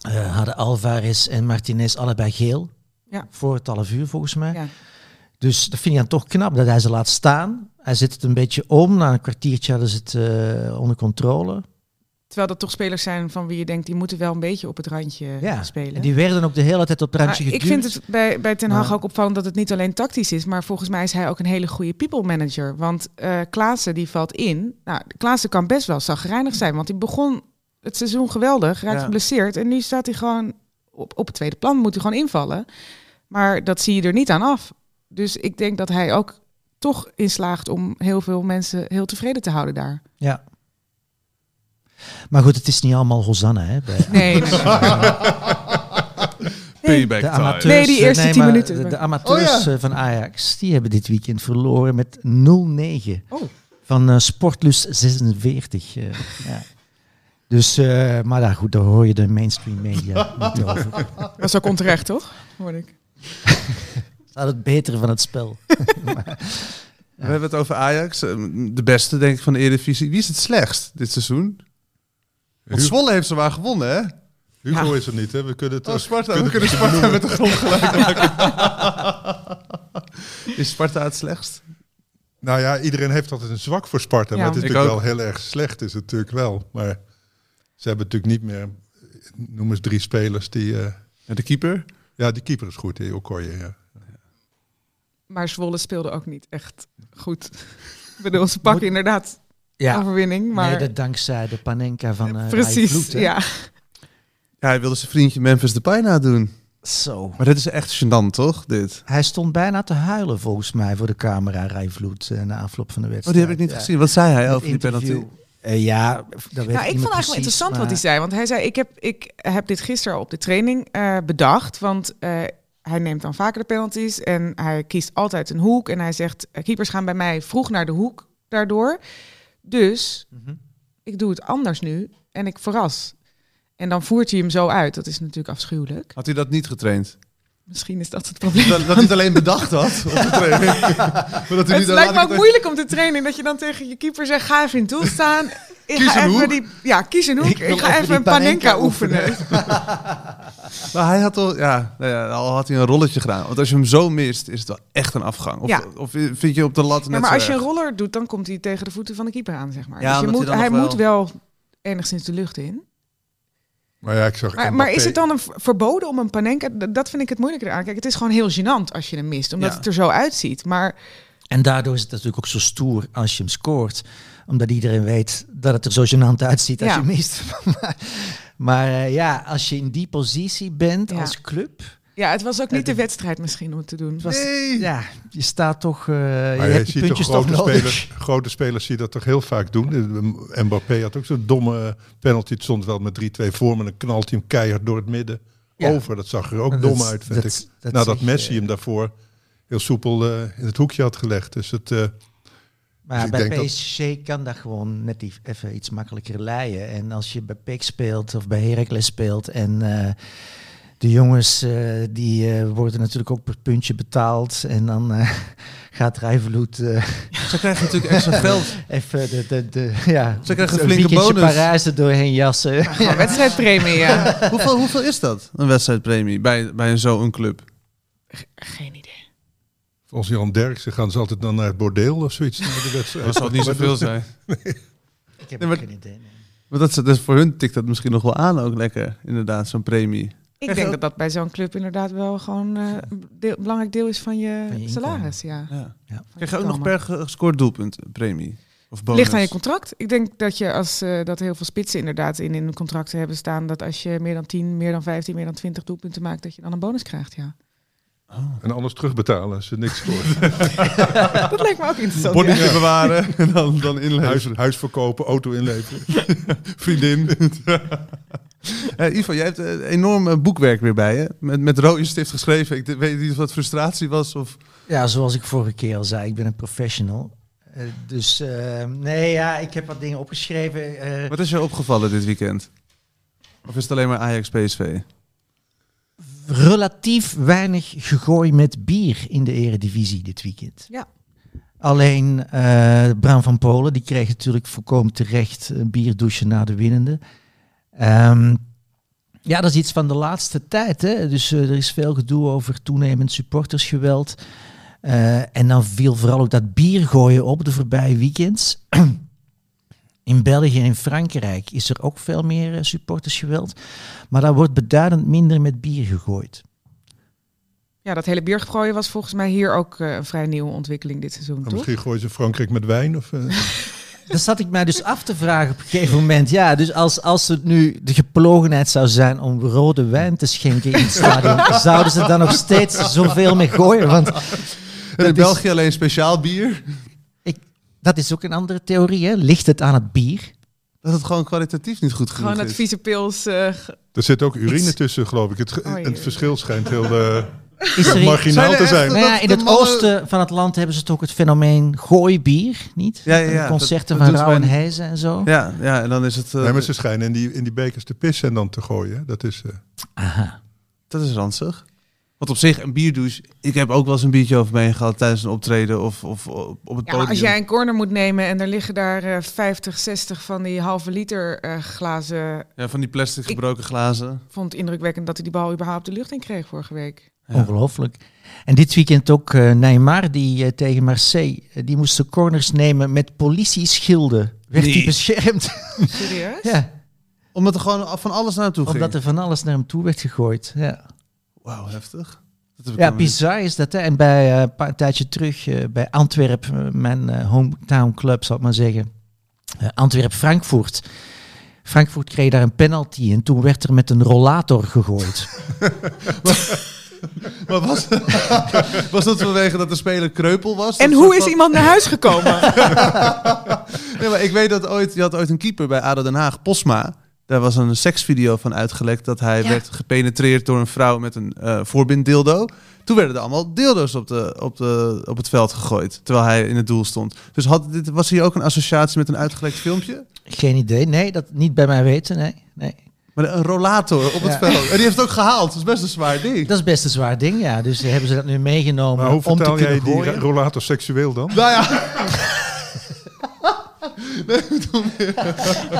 [SPEAKER 2] eh, hadden Alvarez en Martinez allebei geel.
[SPEAKER 5] Ja.
[SPEAKER 2] Voor het half uur volgens mij.
[SPEAKER 5] Ja.
[SPEAKER 2] Dus dat vind ik dan toch knap dat hij ze laat staan. Hij zet het een beetje om. Na een kwartiertje hadden ze het eh, onder controle.
[SPEAKER 5] Terwijl dat toch spelers zijn van wie je denkt, die moeten wel een beetje op het randje
[SPEAKER 2] Ja.
[SPEAKER 5] spelen.
[SPEAKER 2] En die werden ook de hele tijd op het randje
[SPEAKER 5] Maar
[SPEAKER 2] geduwd.
[SPEAKER 5] ik vind het bij, bij Ten Hag
[SPEAKER 2] Maar-
[SPEAKER 5] ook opvallend dat het niet alleen tactisch is, maar volgens mij is hij ook een hele goede people manager. Want eh Klaassen die valt in. Nou, Klaassen kan best wel zagrijnig zijn, want hij begon het seizoen geweldig, raakt
[SPEAKER 1] Ja.
[SPEAKER 5] geblesseerd en nu staat hij gewoon op, op het tweede plan, moet hij gewoon invallen. Maar dat zie je er niet aan af. Dus ik denk dat hij ook toch in slaagt om heel veel mensen heel tevreden te houden daar.
[SPEAKER 2] Ja. Maar goed, het is niet allemaal Hosanna. Hè, bij-
[SPEAKER 5] Nee, nee, nee.
[SPEAKER 1] Payback
[SPEAKER 2] De
[SPEAKER 1] time.
[SPEAKER 2] amateurs,
[SPEAKER 5] Nee, die
[SPEAKER 2] eh,
[SPEAKER 5] eerste tien
[SPEAKER 2] maar
[SPEAKER 5] minuten.
[SPEAKER 2] De, de amateurs
[SPEAKER 3] Oh, ja.
[SPEAKER 2] eh, van Ajax, die hebben dit weekend verloren met 0-9.
[SPEAKER 5] Oh.
[SPEAKER 2] Van eh, Sportlust 46. eh, ja. Dus, eh, maar daar, goed, daar hoor je de mainstream media niet over.
[SPEAKER 5] dat is ook onterecht, toch? Hoor ik.
[SPEAKER 2] Ze hadden het betere van het spel.
[SPEAKER 1] We hebben het over Ajax. eh, De beste, denk ik, van de Eredivisie. Wie is het slechtst dit seizoen? Want
[SPEAKER 3] Hugo.
[SPEAKER 1] Zwolle heeft zwaar gewonnen, hè?
[SPEAKER 3] Hugo is er niet, hè? We kunnen het
[SPEAKER 1] Oh,
[SPEAKER 3] ook-
[SPEAKER 1] Sparta. We
[SPEAKER 3] kunnen
[SPEAKER 1] kunnen
[SPEAKER 3] het
[SPEAKER 1] Sparta met de grond gelijk maken. Is Sparta het slechtst?
[SPEAKER 3] Nou ja, iedereen heeft altijd een zwak voor Sparta.
[SPEAKER 5] Ja.
[SPEAKER 3] Maar het is
[SPEAKER 1] Ik
[SPEAKER 3] natuurlijk
[SPEAKER 1] ook.
[SPEAKER 3] wel heel erg slecht, is het natuurlijk wel. Maar ze hebben natuurlijk niet meer, noem eens drie spelers die... eh,
[SPEAKER 1] Ja, de keeper?
[SPEAKER 3] ja, die keeper is goed, die Okoye, ja.
[SPEAKER 5] Maar Zwolle speelde ook niet echt goed. Ik bedoel, ze pakken inderdaad
[SPEAKER 2] Ja,
[SPEAKER 5] overwinning. Maar
[SPEAKER 2] nee, dat dankzij de Panenka van eh
[SPEAKER 5] precies,
[SPEAKER 2] Rai Vloed, hè.
[SPEAKER 5] ja.
[SPEAKER 1] Ja, hij wilde zijn vriendje Memphis Depay nadoen.
[SPEAKER 2] Zo.
[SPEAKER 1] Maar dit is echt gênant, toch? Dit.
[SPEAKER 2] Hij stond bijna te huilen volgens mij voor de camera, Rijvloed, na afloop van de
[SPEAKER 1] Oh,
[SPEAKER 2] wedstrijd.
[SPEAKER 1] die heb ik niet
[SPEAKER 2] Ja.
[SPEAKER 1] gezien. Wat zei hij
[SPEAKER 2] Het
[SPEAKER 1] over die penalty?
[SPEAKER 2] interview. Eh, ja, dat weet ik
[SPEAKER 5] Nou, ik vond eigenlijk wel interessant wat hij zei. Want hij zei, ik heb, ik heb dit gisteren op de training eh, bedacht. Want eh, hij neemt dan vaker de penalties en hij kiest altijd een hoek. En hij zegt, eh, keepers gaan bij mij vroeg naar de hoek daardoor. Dus
[SPEAKER 2] Mhm.
[SPEAKER 5] ik doe het anders nu en ik verras. En dan voert hij hem zo uit. Dat is natuurlijk afschuwelijk.
[SPEAKER 1] Had hij dat niet getraind?
[SPEAKER 5] Misschien is dat het probleem.
[SPEAKER 1] Dat, dat hij het alleen bedacht had op de training. Maar dat hij nu
[SPEAKER 5] Het
[SPEAKER 1] dan
[SPEAKER 5] lijkt me
[SPEAKER 1] later-
[SPEAKER 5] ook moeilijk om te trainen dat je dan tegen je keeper zegt: ga even in het doel staan. Ik
[SPEAKER 1] Kies
[SPEAKER 5] ga
[SPEAKER 1] een
[SPEAKER 5] even
[SPEAKER 1] hoek.
[SPEAKER 5] Die, ja, kies een hoek. Ik,
[SPEAKER 2] Ik wil
[SPEAKER 5] ga
[SPEAKER 2] even
[SPEAKER 5] even,
[SPEAKER 2] die
[SPEAKER 5] een panenka
[SPEAKER 2] panenka
[SPEAKER 5] oefenen.
[SPEAKER 1] Maar hij had al, ja, nou ja, al had hij een rolletje gedaan. Want als je hem zo mist, is het wel echt een afgang. Of,
[SPEAKER 5] Ja.
[SPEAKER 1] of vind je op de lat net
[SPEAKER 5] Ja, maar
[SPEAKER 1] zo
[SPEAKER 5] als je
[SPEAKER 1] erg?
[SPEAKER 5] een roller doet, dan komt hij tegen de voeten van de keeper aan, zeg maar.
[SPEAKER 1] Ja,
[SPEAKER 5] dus je
[SPEAKER 1] omdat hij
[SPEAKER 5] moet,
[SPEAKER 1] dan
[SPEAKER 5] hij
[SPEAKER 1] nog
[SPEAKER 5] moet wel enigszins de lucht in.
[SPEAKER 3] Maar ja, ik zag...
[SPEAKER 5] Maar, maar
[SPEAKER 3] Mbappé-
[SPEAKER 5] is het dan een v- verboden om een panenka? D- Dat vind ik het moeilijker aan. Kijk, het is gewoon heel gênant als je hem mist, omdat
[SPEAKER 1] Ja.
[SPEAKER 5] het er zo uitziet. Maar
[SPEAKER 2] En daardoor is het natuurlijk ook zo stoer als je hem scoort. Omdat iedereen weet dat het er zo gênant uitziet als
[SPEAKER 5] Ja.
[SPEAKER 2] je hem mist. maar maar eh, ja, als je in die positie bent
[SPEAKER 5] Ja.
[SPEAKER 2] als club...
[SPEAKER 5] ja, het was ook
[SPEAKER 2] Ja,
[SPEAKER 5] niet de
[SPEAKER 2] dit-
[SPEAKER 5] wedstrijd misschien om het te doen.
[SPEAKER 2] was-
[SPEAKER 1] Nee.
[SPEAKER 2] Ja, je staat toch... eh, je
[SPEAKER 3] Maar je,
[SPEAKER 2] hebt die
[SPEAKER 3] ziet toch
[SPEAKER 2] puntjes toch
[SPEAKER 3] grote
[SPEAKER 2] nodig.
[SPEAKER 3] spelers, grote spelers die dat toch heel vaak doen. Eh, Mbappé had ook zo'n domme penalty. Het stond wel met 3-2 voor, maar dan knalt hij hem keihard door het midden
[SPEAKER 2] Ja.
[SPEAKER 3] over. Dat zag er ook
[SPEAKER 2] Maar
[SPEAKER 3] dom
[SPEAKER 2] dat-
[SPEAKER 3] uit, vind
[SPEAKER 2] dat-
[SPEAKER 3] ik.
[SPEAKER 2] dat
[SPEAKER 3] Nadat
[SPEAKER 2] zeg je,
[SPEAKER 3] Messi
[SPEAKER 2] eh.
[SPEAKER 3] hem daarvoor heel soepel eh, in het hoekje had gelegd. Dus het, eh,
[SPEAKER 2] Maar
[SPEAKER 3] Dus ik
[SPEAKER 2] bij
[SPEAKER 3] denk dat-
[SPEAKER 2] PSG kan dat gewoon net die- even iets makkelijker leiden. En als je bij PEC speelt of bij Heracles speelt en eh, de jongens eh, die eh, worden natuurlijk ook per puntje betaald. En dan eh, gaat Rijvloed eh
[SPEAKER 1] Ze krijgen natuurlijk extra geld.
[SPEAKER 2] even de, de, de, ja,
[SPEAKER 1] Ze krijgen een
[SPEAKER 2] een
[SPEAKER 1] flinke
[SPEAKER 2] weekendje
[SPEAKER 1] bonus.
[SPEAKER 2] Parijs er doorheen jassen.
[SPEAKER 5] Gewoon wedstrijdpremie, ja.
[SPEAKER 1] hoeveel, hoeveel is dat, een wedstrijdpremie, bij, bij een- zo'n club?
[SPEAKER 5] Geen idee.
[SPEAKER 3] volgens Jan Derksen gaan ze altijd dan naar het bordeel of zoiets. na de wedstrijd.
[SPEAKER 1] Dat zal het niet zoveel zijn.
[SPEAKER 2] Ik heb
[SPEAKER 1] Nee, maar-
[SPEAKER 2] ook geen idee. nee.
[SPEAKER 1] Maar dat, is- dat is voor hun tikt dat misschien nog wel aan ook lekker, inderdaad, zo'n premie.
[SPEAKER 5] Ik denk dat dat bij zo'n club inderdaad wel gewoon eh, een deel- belangrijk deel is van je,
[SPEAKER 2] Van je inkomen.
[SPEAKER 5] salaris, ja.
[SPEAKER 1] Ja.
[SPEAKER 5] Van
[SPEAKER 1] Krijg je ook nog
[SPEAKER 5] inkomen.
[SPEAKER 1] per ge- gescoord doelpunt een premie? Of Of bonus?
[SPEAKER 5] Ligt aan je contract. Ik denk dat je als eh, dat heel veel spitsen inderdaad in in hun contracten hebben staan dat als je meer dan 10, meer dan 15, meer dan 20 doelpunten maakt, dat je dan een bonus krijgt. Ja.
[SPEAKER 3] En anders terugbetalen als ze niks scoort.
[SPEAKER 5] Dat lijkt me ook interessant. ja.
[SPEAKER 1] Bonnetje bewaren en dan, dan inleveren.
[SPEAKER 3] huis, huis verkopen, auto inleveren. Vriendin.
[SPEAKER 1] Eh, Ivo, jij hebt eh, enorm eh, boekwerk weer bij je. Met, met rode stift geschreven. Ik d- weet niet of dat frustratie was of...
[SPEAKER 2] Ja, zoals ik vorige keer al zei, ik ben een professional. Eh, dus eh, nee, ja, ik heb wat dingen opgeschreven. eh,
[SPEAKER 1] Wat is je opgevallen dit weekend? Of is het alleen maar Ajax-PSV?
[SPEAKER 2] relatief weinig gegooi met bier in de eredivisie dit weekend.
[SPEAKER 5] Ja.
[SPEAKER 2] Alleen eh Bram van Polen, die kreeg natuurlijk volkomen terecht een bierdouche na de winnende. Ehm, ja, dat is iets van de laatste tijd. Hè? Dus eh, er is veel gedoe over toenemend supportersgeweld. Eh, en dan viel vooral ook dat bier gooien op de voorbije weekends. In België en in Frankrijk is er ook veel meer eh, supportersgeweld. Maar daar wordt beduidend minder met bier gegooid.
[SPEAKER 5] Ja, dat hele biergooien was volgens mij hier ook eh, een vrij nieuwe ontwikkeling dit seizoen,
[SPEAKER 3] Maar
[SPEAKER 5] toch?
[SPEAKER 3] Oh, Nou, misschien gooien ze Frankrijk met wijn. Of, eh,
[SPEAKER 2] Dat zat ik mij dus af te vragen op een gegeven moment. Ja, dus als, als het nu de geplogenheid zou zijn om rode wijn te schenken in het stadion, zouden ze dan nog steeds zoveel mee gooien? Want
[SPEAKER 1] En in
[SPEAKER 2] is-
[SPEAKER 1] België alleen speciaal bier?
[SPEAKER 2] dat is ook een andere theorie, hè? Ligt het aan het bier?
[SPEAKER 1] Dat het gewoon kwalitatief niet goed genoeg
[SPEAKER 5] Gewoon dat
[SPEAKER 1] is.
[SPEAKER 5] vieze pils. eh, ge-
[SPEAKER 3] er zit ook urine
[SPEAKER 2] Iets-
[SPEAKER 3] tussen, geloof ik. Het, ge-
[SPEAKER 5] Oh, jee.
[SPEAKER 3] het verschil schijnt heel eh,
[SPEAKER 2] Is er iets-
[SPEAKER 1] Zijn
[SPEAKER 3] marginaal
[SPEAKER 1] er
[SPEAKER 3] te
[SPEAKER 1] echt-
[SPEAKER 3] zijn.
[SPEAKER 2] nou ja, in
[SPEAKER 1] de
[SPEAKER 2] het
[SPEAKER 1] mannen-
[SPEAKER 2] oosten van het land hebben ze toch het fenomeen gooibier, niet?
[SPEAKER 1] Ja, ja, ja.
[SPEAKER 2] En Concerten
[SPEAKER 1] Dat- dat
[SPEAKER 2] van
[SPEAKER 1] doen ze
[SPEAKER 2] Rauw en
[SPEAKER 1] bij-
[SPEAKER 2] Heijzen en zo.
[SPEAKER 1] Ja, ja, en dan is het... eh,
[SPEAKER 3] Nee, maar ze schijnen in die, in die bekers te pissen en dan te gooien. hè. Dat is, eh,
[SPEAKER 2] Aha.
[SPEAKER 1] Dat is ranzig. Want op zich, een bierdouche... Ik heb ook wel eens een biertje over me heen gehad tijdens een optreden of, of op op het
[SPEAKER 5] Ja, maar
[SPEAKER 1] podium.
[SPEAKER 5] als jij een corner moet nemen en er liggen daar eh 50, 60 van die halve liter eh, glazen.
[SPEAKER 1] Ja, van die plastic gebroken glazen.
[SPEAKER 5] Vond het indrukwekkend dat hij die bal überhaupt de lucht in kreeg vorige week.
[SPEAKER 1] Ja.
[SPEAKER 2] Ongelooflijk. En dit weekend ook eh, Neymar, die eh, tegen Marseille, eh, die moest de corners nemen met politieschilden. Werd
[SPEAKER 1] Nee.
[SPEAKER 2] hij beschermd?
[SPEAKER 5] Serieus?
[SPEAKER 2] ja,
[SPEAKER 1] Omdat er gewoon van alles naartoe ging.
[SPEAKER 2] omdat er van alles naar hem toe werd gegooid. Ja,
[SPEAKER 1] Wauw, heftig. Dat heb ik
[SPEAKER 2] ja
[SPEAKER 1] nog niet-
[SPEAKER 2] bizar is dat. Hè? En bij, eh, een paar- een tijdje terug eh, bij Antwerp, eh, mijn eh, hometown club, zal ik maar zeggen. eh, Antwerp-Frankfurt. Frankfurt kreeg daar een penalty en toen werd er met een rollator gegooid.
[SPEAKER 1] Maar was, was dat vanwege dat de speler kreupel was?
[SPEAKER 5] En
[SPEAKER 1] Dat
[SPEAKER 5] hoe
[SPEAKER 1] soort
[SPEAKER 5] is
[SPEAKER 1] van-
[SPEAKER 5] iemand naar huis gekomen?
[SPEAKER 1] Nee, maar ik weet dat ooit, je had ooit een keeper bij ADO Den Haag, Posma. Daar was een seksvideo van uitgelekt dat hij
[SPEAKER 5] Ja.
[SPEAKER 1] werd gepenetreerd door een vrouw met een eh voorbinddildo. Toen werden er allemaal dildo's op, de, op, de, op het veld gegooid, terwijl hij in het doel stond. Dus had, dit, was hier ook een associatie met een uitgelekt filmpje?
[SPEAKER 2] Geen idee. Nee, dat niet bij mij weten. Nee, nee.
[SPEAKER 1] Maar een rollator op het
[SPEAKER 2] Ja.
[SPEAKER 1] veld. En die heeft het ook gehaald, dat is best een zwaar ding.
[SPEAKER 2] Dat is best een zwaar ding, ja. Dus hebben ze dat nu meegenomen
[SPEAKER 3] maar
[SPEAKER 2] om
[SPEAKER 3] hoe
[SPEAKER 2] te
[SPEAKER 3] vertaal
[SPEAKER 2] kunnen
[SPEAKER 3] jij die
[SPEAKER 2] gooien.
[SPEAKER 3] ra- rollator seksueel dan?
[SPEAKER 1] Nou ja. Nee, ik bedoel meer.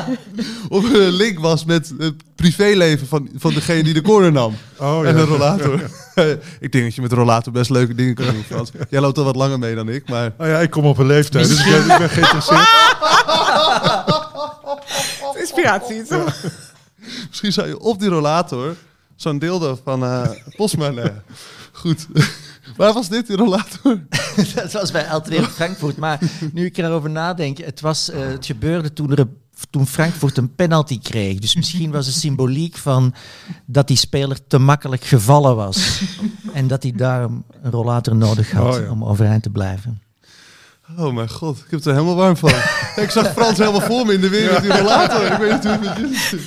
[SPEAKER 1] Of er een link was met het privéleven van, van degene die de corner nam.
[SPEAKER 3] Oh,
[SPEAKER 1] en
[SPEAKER 3] ja.
[SPEAKER 1] een rollator. ik denk dat je met een rollator best leuke dingen kan doen, Frans. Jij loopt al wat langer mee dan ik, maar...
[SPEAKER 3] Nou ja, ik kom op een leeftijd, dus ik ben, ik ben geïnteresseerd.
[SPEAKER 5] Inspiratie, toch?
[SPEAKER 1] Misschien zou je op die rollator zo'n dildo van eh Postma leggen. Goed. Waar was dit, die rollator?
[SPEAKER 2] Dat was bij Altwerp Frankfurt. Maar nu ik erover nadenk, het, was, eh, het gebeurde toen, er, een- toen Frankfurt een penalty kreeg. Dus misschien was de symboliek van dat die speler te makkelijk gevallen was. En dat hij daarom een rollator nodig had
[SPEAKER 3] Oh ja.
[SPEAKER 2] om overeind te blijven.
[SPEAKER 1] Oh mijn god, ik heb er helemaal warm van. ik zag Frans helemaal voor me in de weer met die rollator. Ik weet niet hoe het met jullie zit.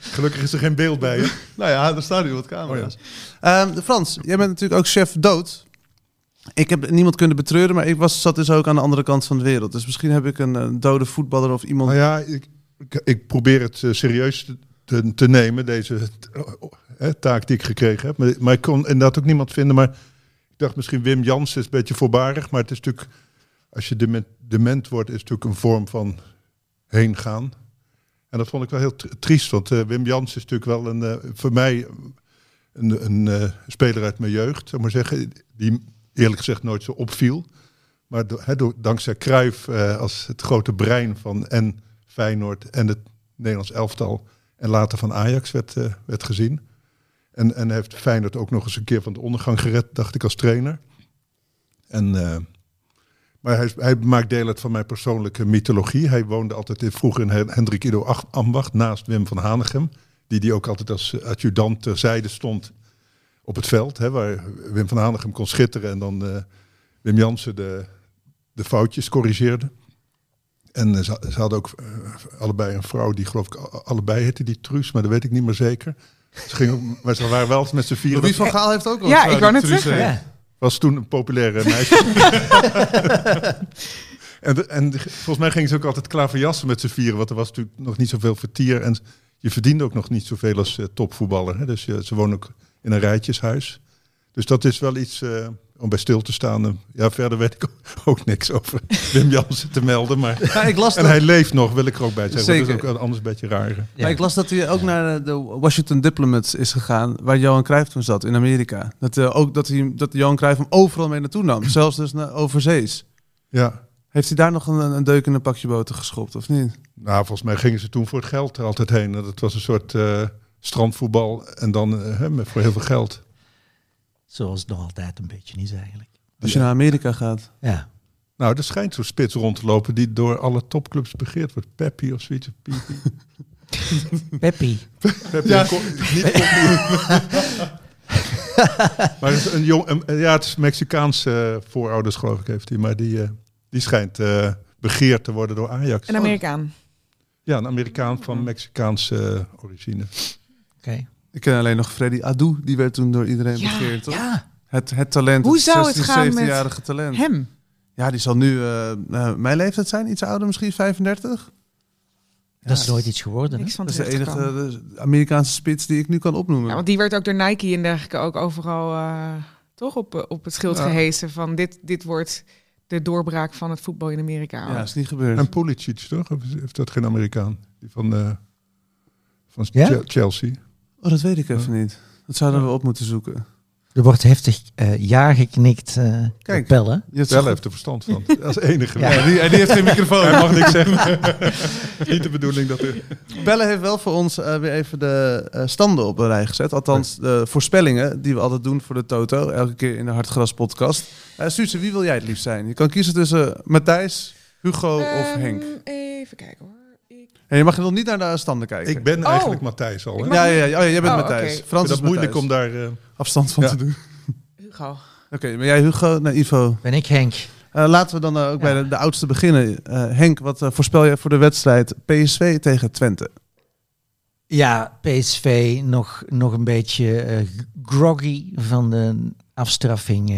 [SPEAKER 3] Gelukkig is er geen beeld bij. dus hè.
[SPEAKER 1] Nou ja, er staan nu wat camera's. Ehm, Frans, jij bent natuurlijk ook chef dood. Ik heb niemand kunnen betreuren, maar ik was, zat dus ook aan de andere kant van de wereld. Dus misschien heb ik een, eh, dode voetballer of iemand...
[SPEAKER 3] Nou ja, ik, ik, ik probeer het eh, serieus te- te, te nemen, deze t- eh, taak die ik gekregen heb. Maar, maar ik kon inderdaad ook niemand vinden. Maar ik dacht misschien Wim Jansen is een beetje voorbarig. Maar het is natuurlijk, als je dement, dement wordt, is het natuurlijk een vorm van heen gaan. En dat vond ik wel heel tr- triest, want eh, Wim Jansen is natuurlijk wel een, eh, voor mij een, een eh, speler uit mijn jeugd, zou ik maar zeggen, die eerlijk gezegd nooit zo opviel. Maar do- hè, door- dankzij Cruijff eh, als het grote brein van en Feyenoord en het Nederlands elftal en later van Ajax werd, eh, werd gezien. En, en heeft Feyenoord ook nog eens een keer van de ondergang gered, dacht ik als trainer. En eh, Maar hij, is- hij maakt deel uit van mijn persoonlijke mythologie. Hij woonde altijd in, vroeger in Hen- Hendrik Ido Ach- Ambacht naast Wim van Hanegem. Die die ook altijd als eh, adjudant terzijde stond op het veld. Hè, waar Wim van Hanegem kon schitteren en dan eh, Wim Jansen de, de foutjes corrigeerde. En eh, ze, ze hadden ook eh, allebei een vrouw die geloof ik, a- allebei heette die Truus, maar dat weet ik niet meer zeker. Ze gingen, ook- maar ze waren wel met z'n vieren.
[SPEAKER 1] Louis van Gaal heeft ook wel
[SPEAKER 5] Ja,
[SPEAKER 1] een vrouw
[SPEAKER 5] ik wou
[SPEAKER 1] die
[SPEAKER 5] net
[SPEAKER 1] Truus
[SPEAKER 5] zeggen.
[SPEAKER 1] heet.
[SPEAKER 2] Ja.
[SPEAKER 3] Was toen een populaire meisje. en, de- en de- volgens mij gingen ze ook altijd klaverjassen met z'n vieren. Want er was natuurlijk nog niet zoveel vertier. En je verdiende ook nog niet zoveel als eh, topvoetballer. Hè? Dus je, ze wonen ook in een rijtjeshuis. Dus dat is wel iets eh, om bij stil te staan. En ja, verder weet ik ook, ook niks over Wim Jansen te melden. Maar,
[SPEAKER 1] Ja, ik las
[SPEAKER 3] en
[SPEAKER 1] dat-
[SPEAKER 3] hij leeft nog, wil ik er ook bij zeggen. want Dat
[SPEAKER 1] Zeker.
[SPEAKER 3] is ook een- anders een beetje raar.
[SPEAKER 2] Ja.
[SPEAKER 1] Maar ik las dat hij ook naar eh, de Washington Diplomats is gegaan, waar Johan Cruijff toen zat in Amerika. Dat, eh, ook dat, hij, dat Johan Cruijff hem overal mee naartoe nam, zelfs dus naar overzees.
[SPEAKER 3] Ja.
[SPEAKER 1] Heeft hij daar nog een, een deuk in een pakje boter geschopt, of niet?
[SPEAKER 3] Nou, volgens mij gingen ze toen voor het geld er altijd heen. En Dat was een soort eh, strandvoetbal en dan eh, hè, met- voor heel veel geld.
[SPEAKER 2] Zoals het nog altijd een beetje is eigenlijk.
[SPEAKER 1] Als je naar Amerika gaat.
[SPEAKER 2] Ja.
[SPEAKER 3] Nou, er schijnt zo'n spits rond te lopen die door alle topclubs begeerd wordt. Peppi of zoiets. of Pipi.
[SPEAKER 2] Peppy.
[SPEAKER 3] Peppi en Ko- niet Koppie. maar het is een jong, een- ja, het is Mexicaanse eh, voorouders geloof ik heeft hij. Maar die, eh, die schijnt eh, begeerd te worden door Ajax. Oh,
[SPEAKER 5] Een Amerikaan.
[SPEAKER 3] Ja, een Amerikaan van Mexicaanse eh, origine.
[SPEAKER 2] Oké.
[SPEAKER 1] Ik ken alleen nog Freddy Adu, die werd toen door iedereen
[SPEAKER 5] Ja,
[SPEAKER 1] begeerd. Toch?
[SPEAKER 2] Ja.
[SPEAKER 1] Het, het talent,
[SPEAKER 5] Hoe
[SPEAKER 1] het
[SPEAKER 5] zou het
[SPEAKER 1] 16,
[SPEAKER 5] gaan met
[SPEAKER 1] 17-jarige talent.
[SPEAKER 5] Hem.
[SPEAKER 1] Ja, die zal nu eh, eh, mijn leeftijd zijn, iets ouder misschien, 35.
[SPEAKER 2] Dat is nooit iets geworden. hè?
[SPEAKER 5] Niks van
[SPEAKER 1] Dat is de
[SPEAKER 5] terecht
[SPEAKER 1] enige
[SPEAKER 5] gekomen.
[SPEAKER 1] eh, Amerikaanse spits die ik nu kan opnoemen.
[SPEAKER 5] Ja, want die werd ook door Nike en dergelijke ook overal eh, toch op, eh, op het schild
[SPEAKER 1] Ja.
[SPEAKER 5] gehesen van dit, dit wordt de doorbraak van het voetbal in Amerika.
[SPEAKER 1] Ja, is niet gebeurd.
[SPEAKER 3] En Pulisic, toch? Of is- Heeft dat geen Amerikaan? Die van, eh, van
[SPEAKER 2] Ja?
[SPEAKER 3] Chel- Chelsea.
[SPEAKER 1] Oh, dat weet ik even niet. Dat zouden we op moeten zoeken.
[SPEAKER 2] Er wordt heftig eh, ja geknikt. eh
[SPEAKER 1] Kijk.
[SPEAKER 2] Kijk. Pellen.
[SPEAKER 1] Je hebt
[SPEAKER 3] Wel
[SPEAKER 1] ze
[SPEAKER 3] heeft er verstand van. Als enige.
[SPEAKER 2] Ja.
[SPEAKER 3] Ja.
[SPEAKER 1] goed- En die heeft geen microfoon.
[SPEAKER 3] Hij mag niks zeggen. Niet de bedoeling dat er...
[SPEAKER 1] Bellen heeft wel voor ons eh, weer even de eh, standen op een rij gezet. Althans, de voorspellingen die we altijd doen voor de Toto. Elke keer in de Hartgras podcast. Eh Suze, wie wil jij het liefst zijn? Je kan kiezen tussen Matthijs, Hugo of
[SPEAKER 5] Ehm,
[SPEAKER 1] Henk.
[SPEAKER 5] Even kijken hoor. Ik-
[SPEAKER 1] En je mag nog niet naar de standen kijken.
[SPEAKER 3] Ik ben
[SPEAKER 5] Oh.
[SPEAKER 3] eigenlijk Matthijs al. Hè?
[SPEAKER 5] Ik
[SPEAKER 3] Ik
[SPEAKER 5] mag-
[SPEAKER 1] Ja, ja, ja. Oh, ja, jij bent
[SPEAKER 5] Oh,
[SPEAKER 1] Matthijs.
[SPEAKER 5] oké.
[SPEAKER 3] vind
[SPEAKER 1] Frans is
[SPEAKER 3] het moeilijk
[SPEAKER 1] Matthijs.
[SPEAKER 3] om daar... eh,
[SPEAKER 1] afstand van
[SPEAKER 3] Ja.
[SPEAKER 1] te doen.
[SPEAKER 5] Hugo.
[SPEAKER 1] Oké, maar jij Hugo, naar Ivo.
[SPEAKER 2] Ben ik Henk.
[SPEAKER 1] Eh, laten we dan eh, ook
[SPEAKER 2] Ja.
[SPEAKER 1] bij de, de oudste beginnen. Eh, Henk, wat eh, voorspel jij voor de wedstrijd PSV tegen Twente?
[SPEAKER 2] Ja, PSV nog, nog een beetje eh, groggy van de afstraffing. eh,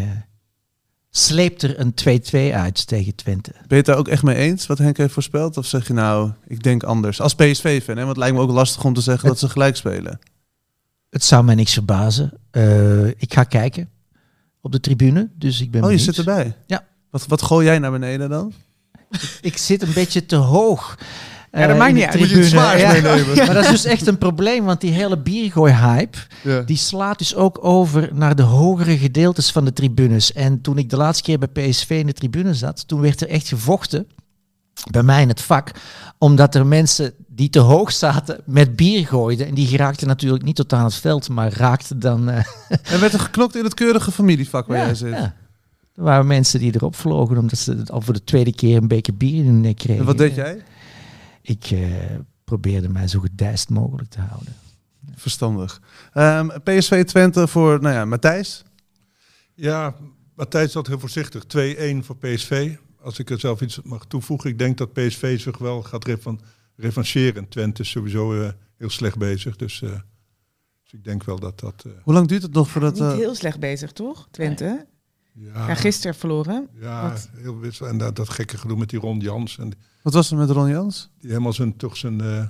[SPEAKER 2] sleept er een 2-2 uit tegen Twente.
[SPEAKER 1] Ben je het daar ook echt mee eens wat Henk heeft voorspeld? Of zeg je nou, ik denk anders? Als PSV-fan, hè? want het lijkt me ook lastig om te zeggen dat ze gelijk spelen. Oh,
[SPEAKER 2] Het zou mij niks verbazen. Eh, ik ga kijken op de tribune, dus ik ben
[SPEAKER 1] Oh, je
[SPEAKER 2] benieuwd.
[SPEAKER 1] zit erbij?
[SPEAKER 2] Ja.
[SPEAKER 1] Wat, wat gooi jij naar beneden dan?
[SPEAKER 2] Ik zit een beetje te hoog. eh,
[SPEAKER 5] dat
[SPEAKER 2] in
[SPEAKER 5] maakt
[SPEAKER 2] de
[SPEAKER 5] niet uit.
[SPEAKER 1] Moet je iets
[SPEAKER 2] tribune.
[SPEAKER 1] zwaars
[SPEAKER 2] Ja.
[SPEAKER 1] meenemen.
[SPEAKER 2] Maar dat is dus echt een probleem, want die hele biergooi-hype...
[SPEAKER 1] Ja.
[SPEAKER 2] die slaat dus ook over naar de hogere gedeeltes van de tribunes. En toen ik de laatste keer bij PSV in de tribune zat, toen werd er echt gevochten, bij mij in het vak, omdat er mensen die te hoog zaten met bier gooiden. En die geraakten natuurlijk niet tot aan het veld, maar raakten dan... eh,
[SPEAKER 1] En werd er geknokt in het keurige familievak waar jij zit.
[SPEAKER 2] ja. Er waren mensen die erop vlogen omdat ze het al voor de tweede keer een beker bier in hun nek kregen.
[SPEAKER 1] En wat deed jij?
[SPEAKER 2] Ik eh, probeerde mij zo gedijst mogelijk te houden.
[SPEAKER 1] Verstandig. Ehm, PSV Twente voor, nou ja, Matthijs.
[SPEAKER 3] Ja, Matthijs zat heel voorzichtig. 2-1 voor PSV. Als ik er zelf iets mag toevoegen. Ik denk dat PSV zich wel gaat revan- revancheren. Twente is sowieso eh, heel slecht bezig. Dus, eh, dus ik denk wel dat dat... eh,
[SPEAKER 1] Hoe lang duurt het nog voordat...
[SPEAKER 5] Niet
[SPEAKER 1] eh,
[SPEAKER 5] heel slecht bezig, toch? Twente.
[SPEAKER 3] ja,
[SPEAKER 5] Ja, gisteren verloren.
[SPEAKER 3] Ja,
[SPEAKER 5] Wat?
[SPEAKER 3] heel wissel. En dat, dat gekke gedoe met die Ron Jans. En
[SPEAKER 1] wat was er met Ron Jans?
[SPEAKER 3] die helemaal zijn, toch zijn, eh,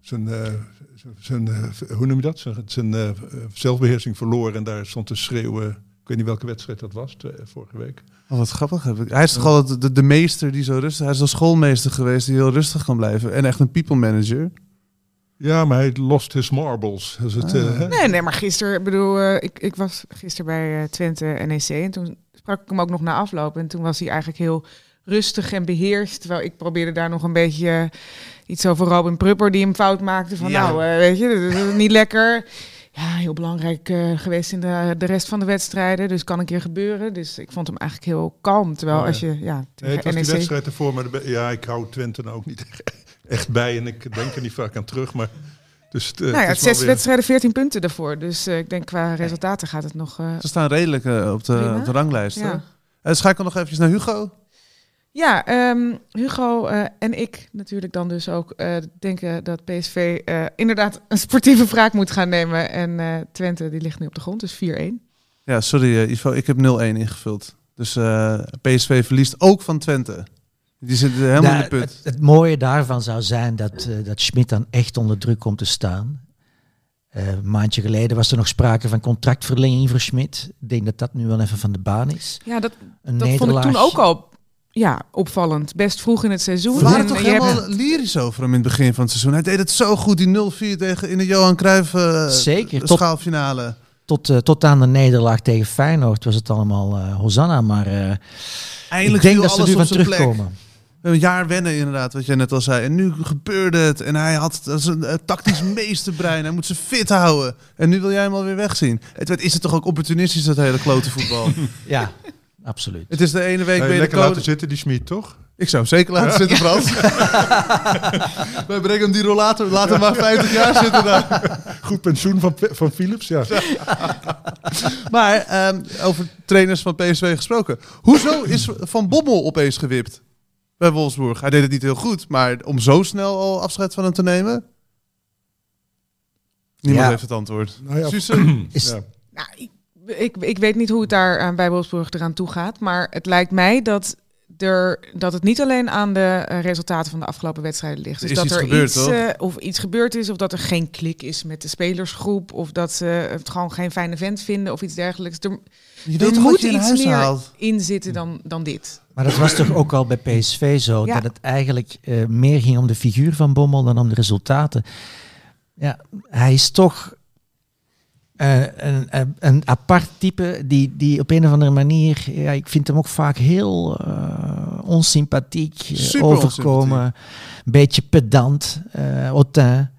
[SPEAKER 3] zijn, eh, zijn, zijn, eh, hoe noem je dat? Zijn, zijn eh, zelfbeheersing verloren. En daar stond te schreeuwen. Ik weet niet welke wedstrijd dat was, eh, vorige week.
[SPEAKER 1] Oh, wat grappig. Heb ik. Hij is toch altijd de, de meester die zo rustig... Hij is een schoolmeester geweest die heel rustig kan blijven. En echt een people manager.
[SPEAKER 3] Ja, maar hij lost his marbles. Dus het, eh,
[SPEAKER 1] Ah.
[SPEAKER 3] hè?
[SPEAKER 5] Nee, nee, maar gisteren, ik bedoel, eh, ik, ik was gisteren bij eh, Twente NEC en toen sprak ik hem ook nog na afloop. En toen was hij eigenlijk heel rustig en beheerst, terwijl ik probeerde daar nog een beetje eh, iets over Robin Prupper die hem fout maakte. Van
[SPEAKER 1] Ja.
[SPEAKER 5] nou, eh, weet je, dat is niet lekker. ja, heel belangrijk eh, geweest in de, de rest van de wedstrijden. Dus kan een keer gebeuren. Dus ik vond hem eigenlijk heel kalm. Terwijl
[SPEAKER 3] Oh, ja.
[SPEAKER 5] als je ja,
[SPEAKER 3] Nee, het was
[SPEAKER 5] tegen E
[SPEAKER 3] die
[SPEAKER 5] NEC...
[SPEAKER 3] wedstrijd ervoor, maar de be- ja, ik hou Twente nou ook niet echt bij. En ik denk er niet vaak aan terug, maar... Dus het, eh,
[SPEAKER 5] Nou ja,
[SPEAKER 3] het is wel
[SPEAKER 5] zes
[SPEAKER 3] weer-
[SPEAKER 5] wedstrijden, 14 punten daarvoor. Dus eh, ik denk qua resultaten gaat het nog... eh,
[SPEAKER 1] Ze staan redelijk eh, op, de,
[SPEAKER 5] Prima.
[SPEAKER 1] op de ranglijst. hè?
[SPEAKER 5] ja.
[SPEAKER 1] Eh, schakel nog eventjes naar Hugo.
[SPEAKER 5] Ja, ehm, Hugo eh, en ik natuurlijk dan dus ook eh, denken dat PSV eh, inderdaad een sportieve wraak moet gaan nemen. En eh, Twente die ligt nu op de grond, dus 4-1.
[SPEAKER 1] Ja, sorry eh, Ivo, ik heb 0-1 ingevuld. Dus eh, PSV verliest ook van Twente. Die zit eh, helemaal in de
[SPEAKER 2] Nou,
[SPEAKER 1] put.
[SPEAKER 2] Het, het mooie daarvan zou zijn dat, eh dat Schmid dan echt onder druk komt te staan. Eh, een maandje geleden was er nog sprake van contractverlenging voor Schmid. Ik denk dat dat nu wel even van de baan is.
[SPEAKER 5] Ja, dat,
[SPEAKER 2] Een
[SPEAKER 5] dat vond ik toen
[SPEAKER 2] nederlaagje.
[SPEAKER 5] ook al ja, opvallend. Best vroeg in het seizoen.
[SPEAKER 1] We waren
[SPEAKER 5] En
[SPEAKER 1] toch
[SPEAKER 5] je hebt-
[SPEAKER 1] helemaal lyrisch over hem in het begin van het seizoen. Hij deed het zo goed, die 0-4 tegen in de Johan Cruijff eh,
[SPEAKER 2] Zeker, tot-
[SPEAKER 1] schaalfinale.
[SPEAKER 2] Tot, eh, tot aan de nederlaag tegen Feyenoord was het allemaal eh, Hosanna. Maar eh, ik
[SPEAKER 1] Eindelijk
[SPEAKER 2] denk
[SPEAKER 1] viel
[SPEAKER 2] dat ze er
[SPEAKER 1] alles op
[SPEAKER 2] nu van
[SPEAKER 1] zijn plek.
[SPEAKER 2] terugkomen.
[SPEAKER 1] Een jaar wennen inderdaad, wat jij net al zei. En nu gebeurde het. En hij had dat is een eh, tactisch meesterbrein. Hij moet ze fit houden. En nu wil jij hem alweer wegzien. Het werd, is het toch ook opportunistisch, dat hele klote voetbal?
[SPEAKER 2] Ja, absoluut.
[SPEAKER 1] het is de ene week
[SPEAKER 3] Nee,
[SPEAKER 1] ben je de
[SPEAKER 3] lekker
[SPEAKER 1] koning.
[SPEAKER 3] laten zitten, die Schmid, toch?
[SPEAKER 1] Ik zou hem zeker laten zitten, Frans. Wij brengen hem die rollator. Laat hem maar 50 jaar zitten daar.
[SPEAKER 3] Goed pensioen van, van Philips, ja.
[SPEAKER 1] Maar ehm, over trainers van PSV gesproken. Hoezo is Van Bommel opeens gewipt bij Wolfsburg? Hij deed het niet heel goed, maar om zo snel al afscheid van hem te nemen? Niemand
[SPEAKER 2] Ja.
[SPEAKER 1] heeft het antwoord. eh,
[SPEAKER 3] Nou ja,
[SPEAKER 1] Suze?
[SPEAKER 2] Is,
[SPEAKER 3] Ja.
[SPEAKER 5] Nou, ik, ik, ik weet niet hoe het daar aan bij Wolfsburg eraan toe gaat. Maar het lijkt mij dat, er, dat het niet alleen aan de eh, resultaten van de afgelopen wedstrijden ligt.
[SPEAKER 1] Er
[SPEAKER 5] Dus
[SPEAKER 1] is
[SPEAKER 5] dat
[SPEAKER 1] iets
[SPEAKER 5] er
[SPEAKER 1] gebeurd,
[SPEAKER 5] iets,
[SPEAKER 1] toch?
[SPEAKER 5] eh, of iets gebeurd is, of dat er geen klik is met de spelersgroep. Of dat ze het gewoon geen fijne vent vinden of iets dergelijks. Er
[SPEAKER 1] Je
[SPEAKER 5] er
[SPEAKER 1] weet toch wat
[SPEAKER 5] moet
[SPEAKER 1] je in
[SPEAKER 5] iets
[SPEAKER 1] huis
[SPEAKER 5] meer
[SPEAKER 1] haalt?
[SPEAKER 5] in zitten dan, dan dit.
[SPEAKER 2] Maar dat was toch ook al bij PSV zo,
[SPEAKER 5] Ja.
[SPEAKER 2] dat het eigenlijk eh, meer ging om de figuur van Bommel dan om de resultaten. Ja, hij is toch eh, een, een- een apart type die, die op een of andere manier, ja, ik vind hem ook vaak heel eh, onsympathiek eh,
[SPEAKER 1] Super
[SPEAKER 2] overkomen. Een beetje pedant, eh hautain.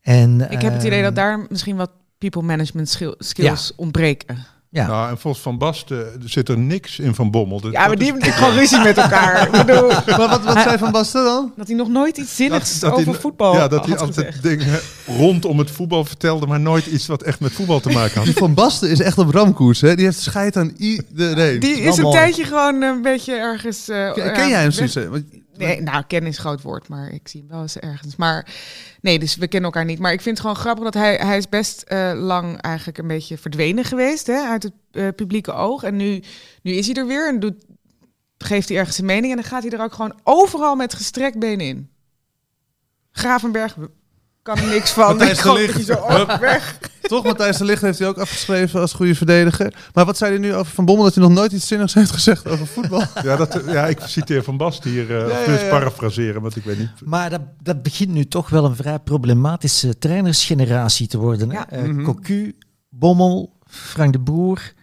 [SPEAKER 2] En,
[SPEAKER 5] Ik heb het idee
[SPEAKER 2] eh,
[SPEAKER 5] dat daar misschien wat people management schil- skills ontbreken.
[SPEAKER 2] Ja.
[SPEAKER 3] Nou, en volgens Van Basten zit er niks in Van Bommel. Dus
[SPEAKER 5] Ja, maar
[SPEAKER 3] dat
[SPEAKER 5] die
[SPEAKER 3] is-
[SPEAKER 5] hebben natuurlijk gewoon ruzie met elkaar. Ik bedoel,
[SPEAKER 1] Maar wat, wat zei Van Basten dan?
[SPEAKER 5] dat hij nog nooit iets zinnigs
[SPEAKER 3] dat hij-
[SPEAKER 5] over voetbal
[SPEAKER 3] Ja, dat hij
[SPEAKER 5] had gezegd.
[SPEAKER 3] altijd dingen rondom het voetbal vertelde, maar nooit iets wat echt met voetbal te maken
[SPEAKER 1] Die
[SPEAKER 3] had.
[SPEAKER 1] Van Basten is echt op ramkoers. Hè? Die heeft scheid aan iedereen.
[SPEAKER 5] Die
[SPEAKER 2] Wel
[SPEAKER 5] is een
[SPEAKER 2] mooi.
[SPEAKER 5] tijdje gewoon een beetje ergens. eh,
[SPEAKER 1] Ken,
[SPEAKER 5] ja,
[SPEAKER 1] ken jij hem,
[SPEAKER 5] weg-
[SPEAKER 1] Suze? Want-
[SPEAKER 5] Nee, nou, kennen is groot woord, maar ik zie hem wel eens ergens. Maar nee, dus we kennen elkaar niet. Maar ik vind het gewoon grappig dat hij, hij is best eh, lang eigenlijk een beetje verdwenen geweest hè, uit het eh, publieke oog. En nu, nu is hij er weer en doet, geeft hij ergens zijn mening. En dan gaat hij er ook gewoon overal met gestrekt been in. Gravenberg kan er niks van.
[SPEAKER 1] Matthijs de
[SPEAKER 5] Ik hoop dat
[SPEAKER 1] Ligt.
[SPEAKER 5] hij zo ook weg.
[SPEAKER 1] Toch, Matthijs de Ligt heeft hij ook afgeschreven als goede verdediger. Maar wat zei hij nu over Van Bommel? Dat hij nog nooit iets zinnigs heeft gezegd over voetbal.
[SPEAKER 3] Ja, dat, ja, ik citeer Van Basten hier, eh,
[SPEAKER 1] ja,
[SPEAKER 3] dus
[SPEAKER 1] ja.
[SPEAKER 3] parafraseren, want ik weet niet.
[SPEAKER 2] Maar dat, dat begint nu toch wel een vrij problematische trainersgeneratie te worden.
[SPEAKER 5] Ja.
[SPEAKER 2] Ja.
[SPEAKER 1] Mhm.
[SPEAKER 2] Cocu, Bommel, Frank de Boer.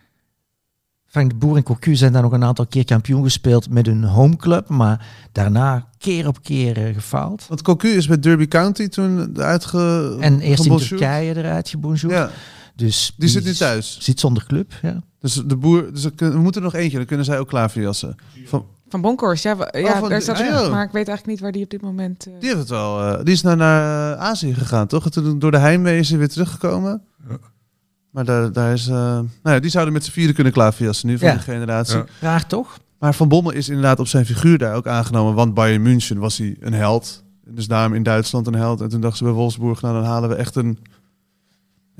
[SPEAKER 2] Frank de Boer en Cocu zijn dan nog een aantal keer kampioen gespeeld met hun homeclub. Maar daarna keer op keer eh, gefaald.
[SPEAKER 1] Want Cocu is bij Derby County toen uitge...
[SPEAKER 2] En eerst in
[SPEAKER 1] gebonjourd.
[SPEAKER 2] Turkije eruit gebonjourd.
[SPEAKER 1] Ja,
[SPEAKER 2] Dus
[SPEAKER 1] die zit nu
[SPEAKER 2] is-
[SPEAKER 1] thuis.
[SPEAKER 2] Zit zonder club, ja.
[SPEAKER 1] Dus de boer... Dus er kun- we moeten er nog eentje, dan kunnen zij ook klaverjassen. Van,
[SPEAKER 5] Van Bonkors, ja, we- ja
[SPEAKER 1] van-
[SPEAKER 5] daar zat
[SPEAKER 1] ah,
[SPEAKER 5] hij
[SPEAKER 1] ja.
[SPEAKER 5] op, maar ik weet eigenlijk niet waar die op dit moment... eh,
[SPEAKER 1] die heeft het wel... eh, die is naar, naar eh, Azië gegaan, toch? En Toen door de heimwee is hij weer teruggekomen.
[SPEAKER 3] Ja.
[SPEAKER 1] Maar daar, daar is... eh, nou ja, die zouden met z'n vieren kunnen klaverjassen nu, van
[SPEAKER 2] Ja.
[SPEAKER 1] die generatie.
[SPEAKER 3] Ja.
[SPEAKER 2] Raar toch?
[SPEAKER 1] Maar Van Bommel is inderdaad op zijn figuur daar ook aangenomen. Want Bayern München was hij een held. Dus daarom in Duitsland een held. En toen dachten ze bij Wolfsburg, nou dan halen we echt een,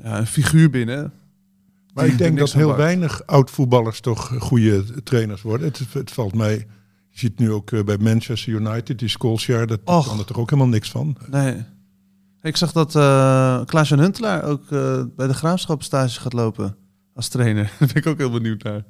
[SPEAKER 1] ja, een figuur binnen. Die
[SPEAKER 3] Maar ik
[SPEAKER 1] er
[SPEAKER 3] denk
[SPEAKER 1] niks
[SPEAKER 3] dat
[SPEAKER 1] van
[SPEAKER 3] heel
[SPEAKER 1] bakt.
[SPEAKER 3] weinig oud-voetballers toch goede trainers worden. Het, het valt mij, je ziet nu ook eh, bij Manchester United, die Solskjaer, dat
[SPEAKER 1] Och.
[SPEAKER 3] kan er toch ook helemaal niks van.
[SPEAKER 1] Nee. Ik zag dat eh Klaas-Jan Huntelaar ook eh, bij de Graafschap stage gaat lopen als trainer. daar ben ik ook heel benieuwd naar.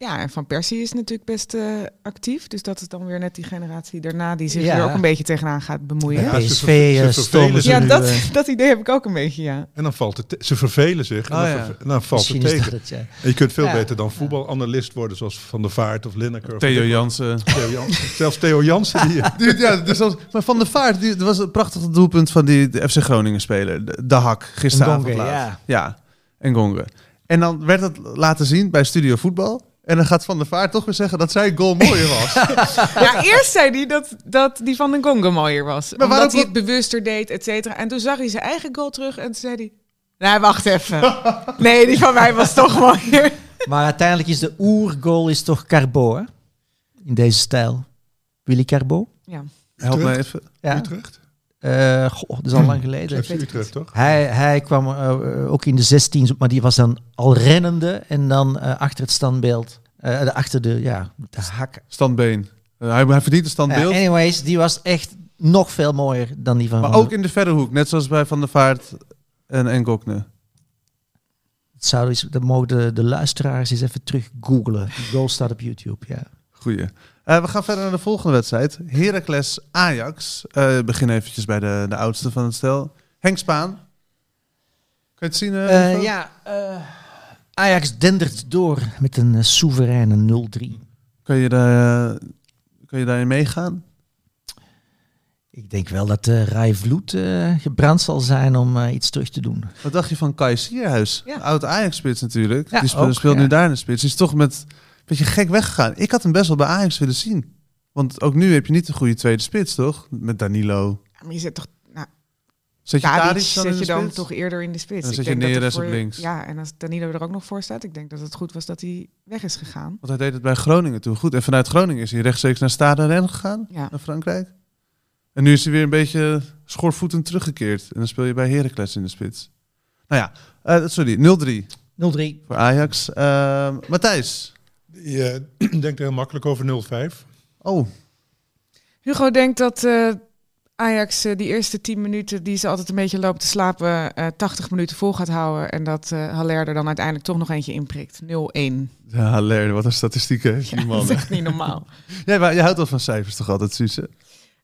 [SPEAKER 5] Ja, en Van Persie is natuurlijk best eh, actief. Dus dat is dan weer net die generatie daarna die zich
[SPEAKER 2] Ja.
[SPEAKER 5] er ook een beetje tegenaan gaat bemoeien.
[SPEAKER 3] Ja,
[SPEAKER 5] Ja,
[SPEAKER 3] ze
[SPEAKER 2] PSV
[SPEAKER 3] ver- ze
[SPEAKER 2] eh,
[SPEAKER 3] vervelen
[SPEAKER 2] stonden ze
[SPEAKER 3] zich.
[SPEAKER 2] nu,
[SPEAKER 5] dat,
[SPEAKER 2] eh,
[SPEAKER 5] dat idee heb ik ook een beetje, ja.
[SPEAKER 3] En dan valt het, te- ze vervelen zich en
[SPEAKER 1] Oh,
[SPEAKER 3] dan,
[SPEAKER 1] ja.
[SPEAKER 3] verve- en dan valt het
[SPEAKER 2] misschien is
[SPEAKER 3] tegen.
[SPEAKER 2] dat het, ja.
[SPEAKER 3] En je kunt veel
[SPEAKER 5] Ja.
[SPEAKER 3] beter dan voetbalanalist worden, zoals Van der Vaart of Lineker. of-
[SPEAKER 1] Theo Jansen.
[SPEAKER 3] Theo Jansen. Zelfs Theo Jansen. Die, eh,
[SPEAKER 1] Die- ja, dus als- maar Van der Vaart, die, dat was een prachtig doelpunt van die de FC Groningen speler. De, de Hak, gisteravond
[SPEAKER 2] Ndongen,
[SPEAKER 1] laat.
[SPEAKER 2] ja.
[SPEAKER 1] en Gongen. En dan werd het laten zien bij Studio Voetbal. En dan gaat Van der Vaart toch weer zeggen dat zijn goal mooier was.
[SPEAKER 5] Ja, eerst zei hij dat, dat die van den Gongo mooier was. Maar
[SPEAKER 1] waarom
[SPEAKER 5] omdat hij
[SPEAKER 1] kon-
[SPEAKER 5] het bewuster deed, et cetera. En toen zag hij zijn eigen goal terug en toen zei hij... Nee, wacht even. Nee, die van mij was toch mooier.
[SPEAKER 2] Maar uiteindelijk is de oergoal is toch Carbo, hè? In deze stijl. Willy Carbo.
[SPEAKER 5] Ja,
[SPEAKER 1] Help
[SPEAKER 3] Utrecht?
[SPEAKER 1] me even.
[SPEAKER 2] Ja.
[SPEAKER 3] Utrecht?
[SPEAKER 2] Eh, goh, dat is al lang geleden.
[SPEAKER 3] FC Utrecht, toch?
[SPEAKER 2] Hij, hij kwam eh, eh, ook in de 16, maar die was dan al rennende. En dan eh, achter het standbeeld. eh, de- achter de, ja, de hak.
[SPEAKER 1] Standbeen. Eh, hij, hij verdient een
[SPEAKER 2] Ja,
[SPEAKER 1] standbeeld.
[SPEAKER 2] anyways, die was echt nog veel mooier dan die van
[SPEAKER 1] maar
[SPEAKER 2] Van
[SPEAKER 1] ook in de verre hoek. Net zoals bij Van der Vaart en, en Gokne.
[SPEAKER 2] Het zou eens, dat mogen de, de luisteraars eens even terug googlen. Die goal staat op YouTube, ja.
[SPEAKER 1] Goeie. Eh, we gaan verder naar de volgende wedstrijd. Heracles Ajax. Eh begin eventjes bij de, de oudste van het stel. Henk Spaan. Kun je het zien? eh,
[SPEAKER 2] Eh,
[SPEAKER 1] Ivo?
[SPEAKER 2] ja, eh, Ajax dendert door met een eh, soevereine 0-3.
[SPEAKER 1] Kun je, daar, eh, kun je daarin meegaan?
[SPEAKER 2] Ik denk wel dat eh Rai Vloed eh, gebrand zal zijn om eh, iets terug te doen.
[SPEAKER 1] Wat dacht je van Kai Sierhuis?
[SPEAKER 5] Ja.
[SPEAKER 1] Oud Ajax-spits natuurlijk.
[SPEAKER 2] Ja,
[SPEAKER 1] die speelt,
[SPEAKER 2] ook,
[SPEAKER 1] speelt nu
[SPEAKER 2] ja.
[SPEAKER 1] daar in de spits. Die is toch met een beetje gek weggegaan. Ik had hem best wel bij Ajax willen zien. Want ook nu heb je niet de goede tweede spits, toch? Met Danilo.
[SPEAKER 5] maar je zet toch
[SPEAKER 1] Zet je
[SPEAKER 5] Tadic
[SPEAKER 1] Tadic dan in
[SPEAKER 5] zet
[SPEAKER 1] de
[SPEAKER 5] je dan
[SPEAKER 1] spits?
[SPEAKER 5] toch eerder in de spits.
[SPEAKER 1] Dan
[SPEAKER 5] Ik
[SPEAKER 1] zet je
[SPEAKER 5] denk dat er
[SPEAKER 1] Neres op
[SPEAKER 5] voor-
[SPEAKER 1] links.
[SPEAKER 5] Ja, en als Danilo er ook nog voor staat, ik denk dat het goed was dat hij weg is gegaan.
[SPEAKER 1] Want hij deed het bij Groningen toen goed. En vanuit Groningen is hij rechtstreeks naar Stade Rennes gegaan.
[SPEAKER 5] Ja.
[SPEAKER 1] Naar Frankrijk. En nu is hij weer een beetje schoorvoetend teruggekeerd. En dan speel je bij Heracles in de spits. Nou ja, eh, sorry, 0-3
[SPEAKER 2] 0-3.
[SPEAKER 1] voor Ajax. Eh, Matthijs.
[SPEAKER 3] Die eh, denkt heel makkelijk over 0-5.
[SPEAKER 1] Oh,
[SPEAKER 5] Hugo denkt dat eh, Ajax eh, die eerste 10 minuten die ze altijd een beetje loopt te slapen, eh, 80 minuten vol gaat houden. En dat eh Haller er dan uiteindelijk toch nog eentje inprikt. 0-1.
[SPEAKER 1] ja, Haller, wat een statistiek heeft die man.
[SPEAKER 5] Dat is echt niet normaal.
[SPEAKER 1] Jij, maar, je houdt wel van cijfers toch altijd, Suze?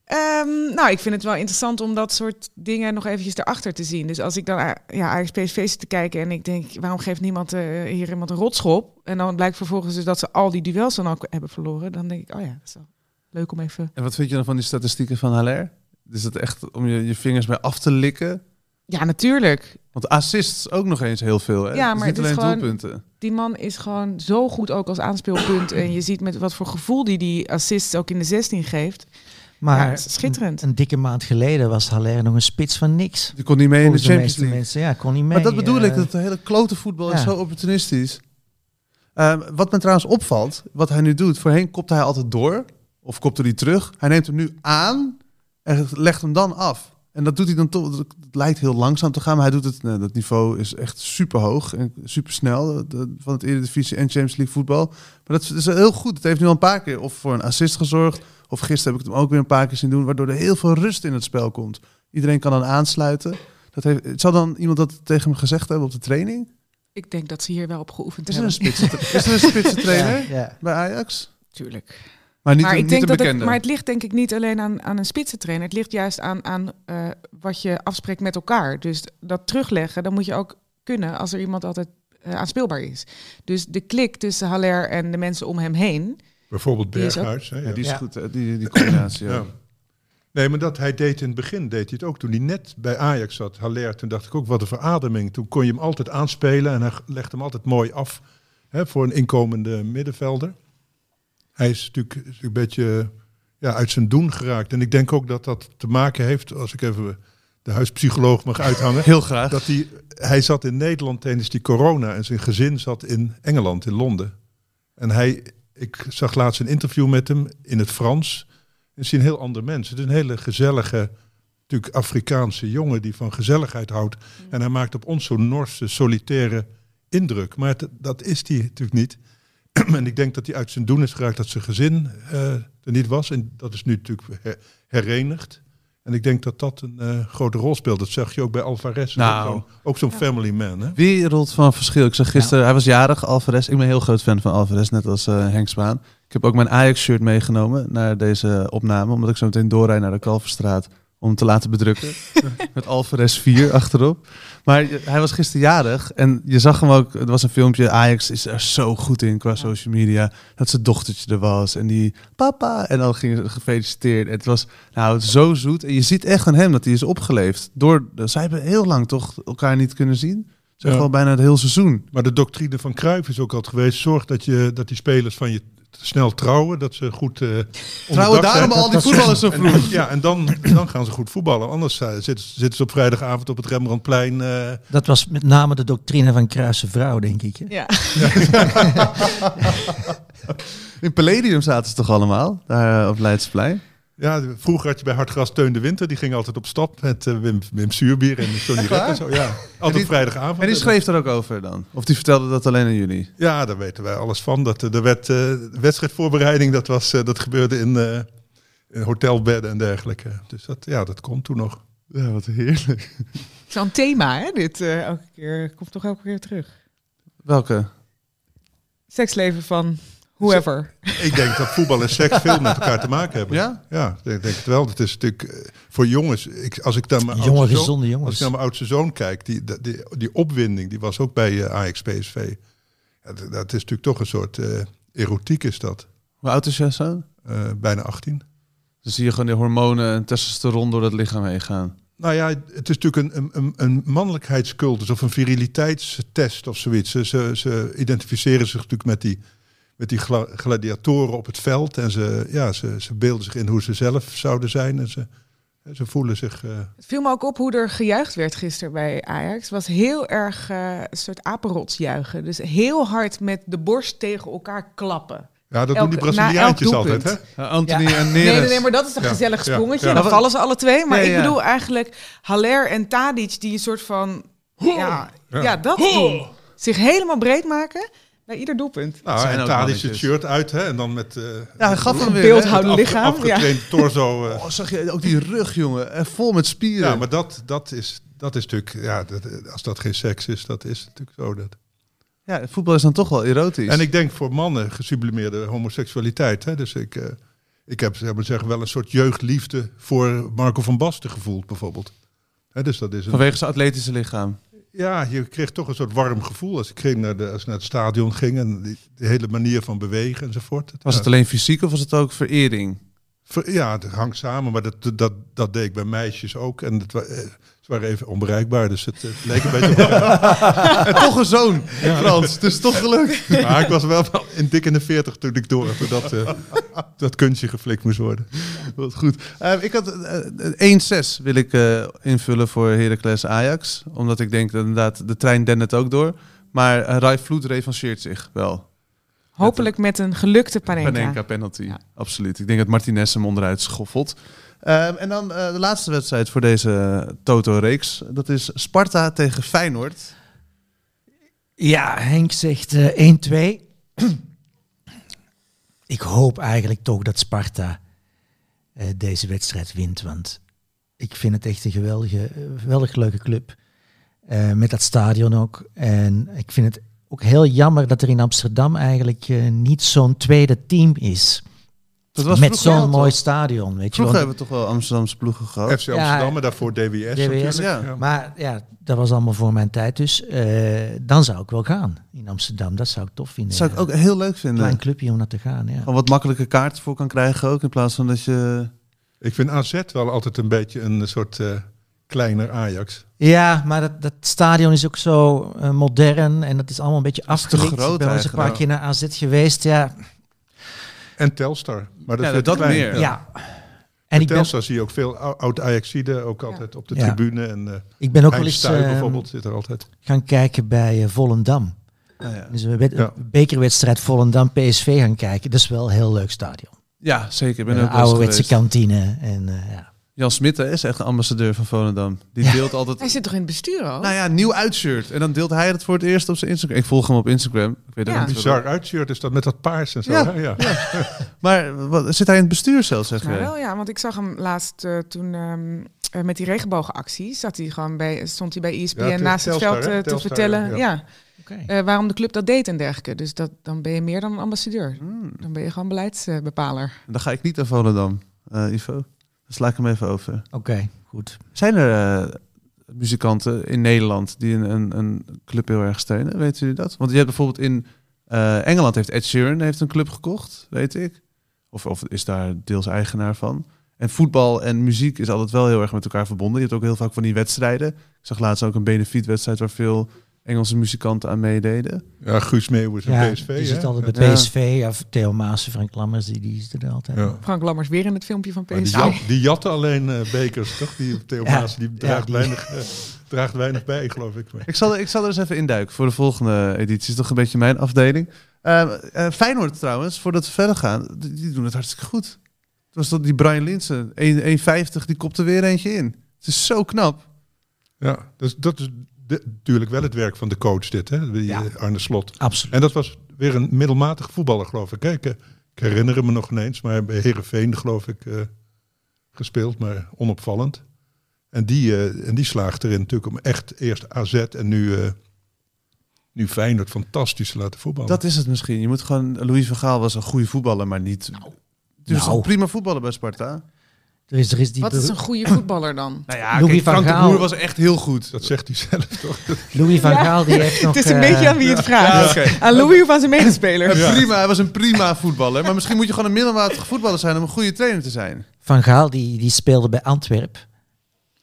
[SPEAKER 5] Ehm, nou, ik vind het wel interessant om dat soort dingen nog eventjes erachter te zien. Dus als ik dan eh, ja, Ajax PSV zit te kijken en ik denk, waarom geeft niemand eh, hier iemand een rotschop? En dan blijkt vervolgens dus dat ze al die duels dan ook hebben verloren. Dan denk ik, oh ja, dat is wel leuk om even...
[SPEAKER 1] En wat vind je dan van die statistieken van Haller? Is dat echt om je, je vingers bij af te likken?
[SPEAKER 5] Ja, natuurlijk.
[SPEAKER 1] Want assists ook nog eens heel veel, hè?
[SPEAKER 5] Ja,
[SPEAKER 1] Dus
[SPEAKER 5] maar
[SPEAKER 1] niet
[SPEAKER 5] het is
[SPEAKER 1] alleen
[SPEAKER 5] gewoon-
[SPEAKER 1] doelpunten.
[SPEAKER 5] Die man is gewoon zo goed ook als aanspeelpunt. En je ziet met wat voor gevoel die die assists ook in de 16 geeft.
[SPEAKER 2] Maar
[SPEAKER 5] Ja, schitterend.
[SPEAKER 2] Een, een dikke maand geleden was Haller nog een spits van niks.
[SPEAKER 1] Je kon niet mee in de
[SPEAKER 2] Volgens de
[SPEAKER 1] Champions
[SPEAKER 2] meeste
[SPEAKER 1] League.
[SPEAKER 2] mensen, ja, kon niet mee.
[SPEAKER 1] Maar dat bedoel ik,
[SPEAKER 2] eh,
[SPEAKER 1] dat de hele klote voetbal is
[SPEAKER 2] ja.
[SPEAKER 1] zo opportunistisch. Ehm, wat me trouwens opvalt, wat hij nu doet. Voorheen kopte hij altijd door, of kopte hij terug. Hij neemt hem nu aan en legt hem dan af. En dat doet hij dan toch, het lijkt heel langzaam te gaan, maar hij doet het, nou, dat niveau is echt super hoog en super snel van het Eredivisie en Champions League voetbal. Maar dat is heel goed. Het heeft nu al een paar keer of voor een assist gezorgd, of gisteren heb ik het hem ook weer een paar keer zien doen, waardoor er heel veel rust in het spel komt. Iedereen kan dan aansluiten. Dat heeft, zal dan iemand dat tegen hem gezegd hebben op de training?
[SPEAKER 5] Ik denk dat ze hier wel op geoefend
[SPEAKER 1] Is er
[SPEAKER 5] hebben.
[SPEAKER 1] een spitsen, is er een spitsen trainer
[SPEAKER 2] ja, ja.
[SPEAKER 1] bij Ajax?
[SPEAKER 5] Tuurlijk.
[SPEAKER 1] Maar niet,
[SPEAKER 5] maar
[SPEAKER 1] een,
[SPEAKER 5] ik denk
[SPEAKER 1] niet een
[SPEAKER 5] dat het,
[SPEAKER 1] bekende.
[SPEAKER 5] maar het ligt denk ik niet alleen aan, aan een spitsentrainer. Het ligt juist aan, aan eh, wat je afspreekt met elkaar. Dus dat terugleggen, dan moet je ook kunnen als er iemand altijd eh, aanspeelbaar is. Dus de klik tussen Haller en de mensen om hem heen.
[SPEAKER 3] Bijvoorbeeld
[SPEAKER 5] Die is ook-
[SPEAKER 3] Berghuis. Hè, ja.
[SPEAKER 1] Ja, die is
[SPEAKER 2] Ja.
[SPEAKER 1] goed, hè, die, die combinatie. ja.
[SPEAKER 3] Ja. Nee, maar dat hij deed in het begin, deed hij het ook. Toen hij net bij Ajax zat, Haller, toen dacht ik ook, wat een verademing. Toen kon je hem altijd aanspelen en hij legde hem altijd mooi af hè, voor een inkomende middenvelder. Hij is natuurlijk, is natuurlijk een beetje eh, ja, uit zijn doen geraakt. En ik denk ook dat dat te maken heeft, als ik even de huispsycholoog mag uithangen.
[SPEAKER 1] Heel graag.
[SPEAKER 3] dat hij, hij zat in Nederland tijdens die corona en zijn gezin zat in Engeland, in Londen. En hij, ik zag laatst een interview met hem in het Frans. Het is een heel ander mens. Het is een hele gezellige, natuurlijk Afrikaanse jongen die van gezelligheid houdt. En hij maakt op ons zo'n Norse, solitaire indruk. Maar het- dat is hij natuurlijk niet. en ik denk dat hij uit zijn doen is geraakt dat zijn gezin eh, er niet was. En dat is nu natuurlijk her- herenigd. En ik denk dat dat een eh, grote rol speelt. Dat zag je ook bij Alvarez.
[SPEAKER 1] Nou.
[SPEAKER 3] Ook zo'n- Ook zo'n
[SPEAKER 5] Ja.
[SPEAKER 3] family man. Hè?
[SPEAKER 1] Wereld van verschil. Ik zag gisteren, hij was jarig, Alvarez. Ik ben een heel groot fan van Alvarez, net als eh Henk Spaan. Ik heb ook mijn Ajax-shirt meegenomen naar deze opname, omdat ik zo meteen doorrijd naar de Kalverstraat om hem te laten bedrukken. Met Alvarez 4 achterop. Maar je- hij was gisteren jarig en je zag hem ook, er was een filmpje, Ajax is er zo goed in qua social media, dat zijn dochtertje er was en die papa en dan ging ze gefeliciteerd. En het was nou zo zoet en je ziet echt aan hem dat hij is opgeleefd. Door, zij hebben heel lang toch elkaar niet kunnen zien. Zeg
[SPEAKER 3] Ja.
[SPEAKER 1] wel bijna het hele seizoen.
[SPEAKER 3] Maar de doctrine van Cruijff is ook altijd geweest. Zorg dat, je, dat die spelers van je t- snel trouwen. Dat ze goed eh
[SPEAKER 1] Trouwen
[SPEAKER 3] onderdak
[SPEAKER 1] daarom
[SPEAKER 3] zijn.
[SPEAKER 1] al die voetballers zo vroeg.
[SPEAKER 3] En, ja, en dan, dan gaan ze goed voetballen. Anders eh, zitten, ze- zitten ze op vrijdagavond op het Rembrandtplein. eh,
[SPEAKER 2] Dat was met name de doctrine van Kruise vrouw, denk ik. hè?
[SPEAKER 5] Ja.
[SPEAKER 1] In Palladium zaten ze toch allemaal, daar eh, op Leidseplein?
[SPEAKER 3] ja, vroeger had je bij Hartgras Teun de Winter. Die ging altijd op stap met eh, Wim, Wim Suurbier en Tony Rep en zo. Ja, altijd
[SPEAKER 1] die-
[SPEAKER 3] vrijdagavond.
[SPEAKER 1] En die
[SPEAKER 3] En-
[SPEAKER 1] schreef er ook over dan? Of die vertelde dat alleen aan jullie?
[SPEAKER 3] Ja, daar weten wij alles van. Dat, eh, de wet, eh, wedstrijdvoorbereiding, dat, was, eh, dat gebeurde in, eh, in hotelbedden en dergelijke. Dus dat, ja, dat kon toen nog.
[SPEAKER 1] Ja, wat heerlijk.
[SPEAKER 5] Zo'n thema, hè? Dit eh, elke keer komt toch elke keer terug.
[SPEAKER 1] Welke?
[SPEAKER 5] Seksleven van whoever.
[SPEAKER 3] Ik denk dat voetbal en seks veel met elkaar te maken hebben.
[SPEAKER 1] Ja?
[SPEAKER 3] Ja, ik denk het wel. Het is natuurlijk eh, voor jongens, ik, als ik dan mijn
[SPEAKER 2] Jonge,
[SPEAKER 3] oudste zoon,
[SPEAKER 2] gezonde
[SPEAKER 3] als ik
[SPEAKER 2] jongens.
[SPEAKER 3] naar mijn oudste zoon kijk, die, dat- die, die opwinding, die was ook bij eh Ajax PSV. Ja, d- dat is natuurlijk toch een soort eh, erotiek is dat.
[SPEAKER 1] Hoe oud is jij zo?
[SPEAKER 3] Eh, bijna 18.
[SPEAKER 1] Dan zie je gewoon die hormonen en testosteron door dat lichaam heen gaan.
[SPEAKER 3] Nou ja, het is natuurlijk een, een, een mannelijkheidscultus of een viriliteitstest of zoiets. Ze, ze, ze identificeren zich natuurlijk met die, met die gla- gladiatoren op het veld. En ze, ja, ze, ze beelden zich in hoe ze zelf zouden zijn. En ze, ze voelen zich... eh,
[SPEAKER 5] Het viel me ook op hoe er gejuicht werd gisteren bij Ajax. Het was heel erg eh, een soort apenrotsjuichen. Dus heel hard met de borst tegen elkaar klappen.
[SPEAKER 3] ja, dat
[SPEAKER 5] Elke-
[SPEAKER 3] doen die Braziliaantjes
[SPEAKER 5] na elk
[SPEAKER 3] altijd, hè?
[SPEAKER 5] doelpunt.
[SPEAKER 1] Anthony en
[SPEAKER 5] Nee,
[SPEAKER 1] Neres.
[SPEAKER 5] nee, nee, maar dat is een
[SPEAKER 3] Ja,
[SPEAKER 5] gezellig
[SPEAKER 3] ja,
[SPEAKER 5] sprongetje.
[SPEAKER 3] ja.
[SPEAKER 5] Dan vallen ze alle twee. Maar
[SPEAKER 1] Ja,
[SPEAKER 5] ik
[SPEAKER 1] ja.
[SPEAKER 5] bedoel eigenlijk Haller en Tadic die een soort van... Ja, ja. dat doen. Zich helemaal breed maken bij ieder doelpunt.
[SPEAKER 3] Nou,
[SPEAKER 1] Zijn
[SPEAKER 3] en
[SPEAKER 1] ook
[SPEAKER 3] Tadic het
[SPEAKER 1] mannetjes.
[SPEAKER 3] shirt uit, hè? En dan met... eh
[SPEAKER 1] Ja, hij gaf hem weer.
[SPEAKER 5] Beeld
[SPEAKER 1] hè?
[SPEAKER 5] houden.
[SPEAKER 3] afge-
[SPEAKER 5] lichaam, ja.
[SPEAKER 3] Afgetraind torso. eh.
[SPEAKER 1] Oh, zag je ook die rug, jongen? Eh, Vol met spieren.
[SPEAKER 3] ja, maar dat, dat, is, dat is natuurlijk... Ja, dat, als dat geen seks is, dat is natuurlijk zo. Dat,
[SPEAKER 1] Ja, voetbal is dan toch wel erotisch.
[SPEAKER 3] En ik denk voor mannen gesublimeerde homoseksualiteit. Hè? Dus ik, eh, ik heb zeg maar zeggen, wel een soort jeugdliefde voor Marco van Basten gevoeld, bijvoorbeeld. Hè, dus dat is een,
[SPEAKER 1] Vanwege zijn atletische lichaam.
[SPEAKER 3] ja, je kreeg toch een soort warm gevoel als ik, ging naar, de, als ik naar het stadion ging. En die, die hele manier van bewegen enzovoort.
[SPEAKER 1] Was
[SPEAKER 3] ja,
[SPEAKER 1] het alleen fysiek of was het ook verering?
[SPEAKER 3] ver- ja, het hangt samen, maar dat, dat, dat deed ik bij meisjes ook. En het, wa- eh, ze waren even onbereikbaar, dus het, eh, leek een beetje op elkaar.
[SPEAKER 1] En toch een zoon, Frans. Het is toch gelukt.
[SPEAKER 3] Maar ik was wel wel in dik in de veertig toen ik door toen dat, eh, dat kunstje geflikt moest worden.
[SPEAKER 1] Wat goed. Eh, ik had eh, eh, 1-6 wil ik eh, invullen voor Heracles Ajax. Omdat ik denk dat inderdaad de trein dendert ook door. Maar eh, Rai Vloed revancheert zich wel.
[SPEAKER 5] Hopelijk met een gelukte Panenka.
[SPEAKER 1] Panenka penalty.
[SPEAKER 5] Ja.
[SPEAKER 1] Absoluut. Ik denk dat Martinez hem onderuit schoffelt. Ehm, en dan eh, de laatste wedstrijd voor deze eh, Toto-reeks. Dat is Sparta tegen Feyenoord.
[SPEAKER 2] Ja, Henk zegt eh, 1-2. ik hoop eigenlijk toch dat Sparta eh, deze wedstrijd wint. Want ik vind het echt een geweldige, eh, geweldig leuke club. Eh, met dat stadion ook. En ik vind het ook heel jammer dat er in Amsterdam eigenlijk eh, niet zo'n tweede team is.
[SPEAKER 1] Dat was
[SPEAKER 2] met
[SPEAKER 1] vroeger wel,
[SPEAKER 2] zo'n
[SPEAKER 1] toch?
[SPEAKER 2] mooi stadion. Weet je
[SPEAKER 1] Vroeger
[SPEAKER 2] wel.
[SPEAKER 1] hebben we toch wel Amsterdamse ploegen gehad.
[SPEAKER 2] Oh.
[SPEAKER 3] FC Amsterdam, en daarvoor DWS, natuurlijk.
[SPEAKER 1] ja.
[SPEAKER 3] Ja.
[SPEAKER 2] Maar ja, dat was allemaal voor mijn tijd. Dus eh, dan zou ik wel gaan in Amsterdam. Dat zou ik tof vinden.
[SPEAKER 1] Dat zou ik
[SPEAKER 2] ja.
[SPEAKER 1] ook heel leuk
[SPEAKER 2] Een klein
[SPEAKER 1] vinden.
[SPEAKER 2] clubje om naar te gaan. Ja.
[SPEAKER 1] Gewoon wat makkelijke kaarten voor kan krijgen ook. In plaats van dat je...
[SPEAKER 3] Ik vind AZ wel altijd een beetje een soort eh, kleiner Ajax.
[SPEAKER 2] Ja, maar dat, dat stadion is ook zo eh, modern en dat is allemaal een beetje afgelikt.
[SPEAKER 1] groot
[SPEAKER 2] ik ben wel eens een
[SPEAKER 1] eigenlijk,
[SPEAKER 2] paar keer naar AZ geweest, ja.
[SPEAKER 3] En Telstar. Maar dat,
[SPEAKER 1] Ja,
[SPEAKER 3] is
[SPEAKER 1] dat
[SPEAKER 3] klein.
[SPEAKER 1] meer.
[SPEAKER 2] ja.
[SPEAKER 1] Ja.
[SPEAKER 2] En ik ben,
[SPEAKER 3] Telstar zie je ook veel oud ajaxiden ook altijd op de
[SPEAKER 2] Ja.
[SPEAKER 3] tribune. En eh
[SPEAKER 2] ik ben ook wel eens
[SPEAKER 3] Einstein
[SPEAKER 2] eh,
[SPEAKER 3] bijvoorbeeld zit er altijd.
[SPEAKER 2] gaan kijken bij eh, Volendam.
[SPEAKER 1] Nou ja.
[SPEAKER 2] Dus een wed-
[SPEAKER 3] Ja.
[SPEAKER 2] een bekerwedstrijd Volendam-PSV gaan kijken. Dat is wel een heel leuk stadion.
[SPEAKER 1] Ja, zeker. Ik ben
[SPEAKER 2] Een
[SPEAKER 1] ook wel eens
[SPEAKER 2] ouderwetse
[SPEAKER 1] geweest.
[SPEAKER 2] kantine. En, eh, ja.
[SPEAKER 1] Jan Smit hè, is echt een ambassadeur van Volendam. Die
[SPEAKER 2] Ja.
[SPEAKER 1] deelt altijd...
[SPEAKER 5] Hij zit toch in het bestuur al?
[SPEAKER 1] Nou ja, nieuw uitshirt. En dan deelt hij het voor het eerst op zijn Instagram. Ik volg hem op Instagram. Ik weet ook
[SPEAKER 5] Ja.
[SPEAKER 1] niet waarom.
[SPEAKER 3] Bizar uitshirt is dat met dat paars en zo.
[SPEAKER 1] Ja.
[SPEAKER 3] hè? ja.
[SPEAKER 1] Maar wat, zit hij in het bestuur zelfs, zeg
[SPEAKER 3] eh,
[SPEAKER 5] Nou
[SPEAKER 1] jij?
[SPEAKER 5] wel, ja, want ik zag hem laatst eh, toen ehm, eh, met die regenboogactie zat hij gewoon bij, stond hij bij E ESPN
[SPEAKER 3] Ja, tegen
[SPEAKER 5] naast het
[SPEAKER 3] Telstar,
[SPEAKER 5] veld
[SPEAKER 3] hè?
[SPEAKER 5] eh, te
[SPEAKER 3] Telstar,
[SPEAKER 5] vertellen
[SPEAKER 3] ja.
[SPEAKER 5] ja.
[SPEAKER 2] Oké.
[SPEAKER 5] eh, waarom de club dat deed en dergelijke. Dus dat, dan ben je meer dan een ambassadeur.
[SPEAKER 1] Hmm.
[SPEAKER 5] Dan ben je gewoon beleidsbepaler.
[SPEAKER 1] Dan ga ik niet naar Volendam, eh, Ivo. Dan sla ik hem even over.
[SPEAKER 2] Oké, goed.
[SPEAKER 1] Zijn er eh, muzikanten in Nederland die een, een, een club heel erg steunen? Weet jullie dat? Want je hebt bijvoorbeeld in eh, Engeland heeft Ed Sheeran heeft een club gekocht, weet ik. Of, of is daar deels eigenaar van. En voetbal en muziek is altijd wel heel erg met elkaar verbonden. Je hebt ook heel vaak van die wedstrijden. Ik zag laatst ook een benefietwedstrijd waar veel Engelse muzikanten aan meededen.
[SPEAKER 3] Ja, Guus Meeuwis en
[SPEAKER 2] Ja,
[SPEAKER 3] PSV.
[SPEAKER 2] die zit
[SPEAKER 3] hè?
[SPEAKER 2] altijd
[SPEAKER 3] Ja.
[SPEAKER 2] bij PSV. Ja, Theo Maassen, Frank Lammers, die, die zitten er altijd.
[SPEAKER 3] Ja.
[SPEAKER 5] Frank Lammers weer in het filmpje van
[SPEAKER 3] Maar die,
[SPEAKER 5] PSV.
[SPEAKER 3] jat- die jatten alleen eh, bekers, toch? Die Theo
[SPEAKER 2] Ja,
[SPEAKER 3] Maas, die
[SPEAKER 2] ja,
[SPEAKER 3] draagt,
[SPEAKER 2] die-
[SPEAKER 3] Weinig, eh, draagt weinig bij, geloof ik.
[SPEAKER 1] Ik zal, ik zal er eens even induiken voor de volgende editie. Is toch een beetje mijn afdeling. Eh, eh, Feyenoord trouwens, voordat we verder gaan, die, die doen het hartstikke goed. Het was dat die Brian Linsen, 1,50, die kopte weer eentje in. Het is zo knap.
[SPEAKER 3] Ja, dus dat is de- natuurlijk wel het werk van de coach, dit, hè? Die,
[SPEAKER 2] Ja.
[SPEAKER 3] eh, Arne Slot.
[SPEAKER 2] Absoluut.
[SPEAKER 3] En dat was weer een middelmatig voetballer, geloof ik. Kijk, ik herinner me nog ineens, maar bij Herenveen, geloof ik, eh, gespeeld, maar onopvallend. En die, eh, en die slaagt erin natuurlijk om echt eerst AZ en nu, eh, nu Feyenoord fantastisch te laten
[SPEAKER 2] Oh.
[SPEAKER 3] voetballen.
[SPEAKER 1] Dat is het misschien. Je moet gewoon, Louis van Gaal was een goede voetballer, maar niet... Dus
[SPEAKER 2] Nou.
[SPEAKER 1] een prima voetballer bij Sparta.
[SPEAKER 2] Er is, er is die
[SPEAKER 5] Oh, Wat is
[SPEAKER 2] beru-
[SPEAKER 5] een goede voetballer dan?
[SPEAKER 1] Nou
[SPEAKER 2] Louis kijk, van Frank de Gaal. Boer was
[SPEAKER 1] echt heel goed.
[SPEAKER 3] dat zegt hij zelf, toch?
[SPEAKER 2] Louis van
[SPEAKER 5] Ja.
[SPEAKER 2] Gaal, die heeft nog...
[SPEAKER 5] het is een
[SPEAKER 2] eh,
[SPEAKER 5] beetje aan wie het vraagt. Aan Louis of aan zijn medespeler.
[SPEAKER 1] Prima, hij was een prima voetballer. Maar misschien moet je gewoon een middelmatig voetballer zijn om een goede trainer te zijn.
[SPEAKER 2] Van Gaal, die, die speelde bij Antwerp.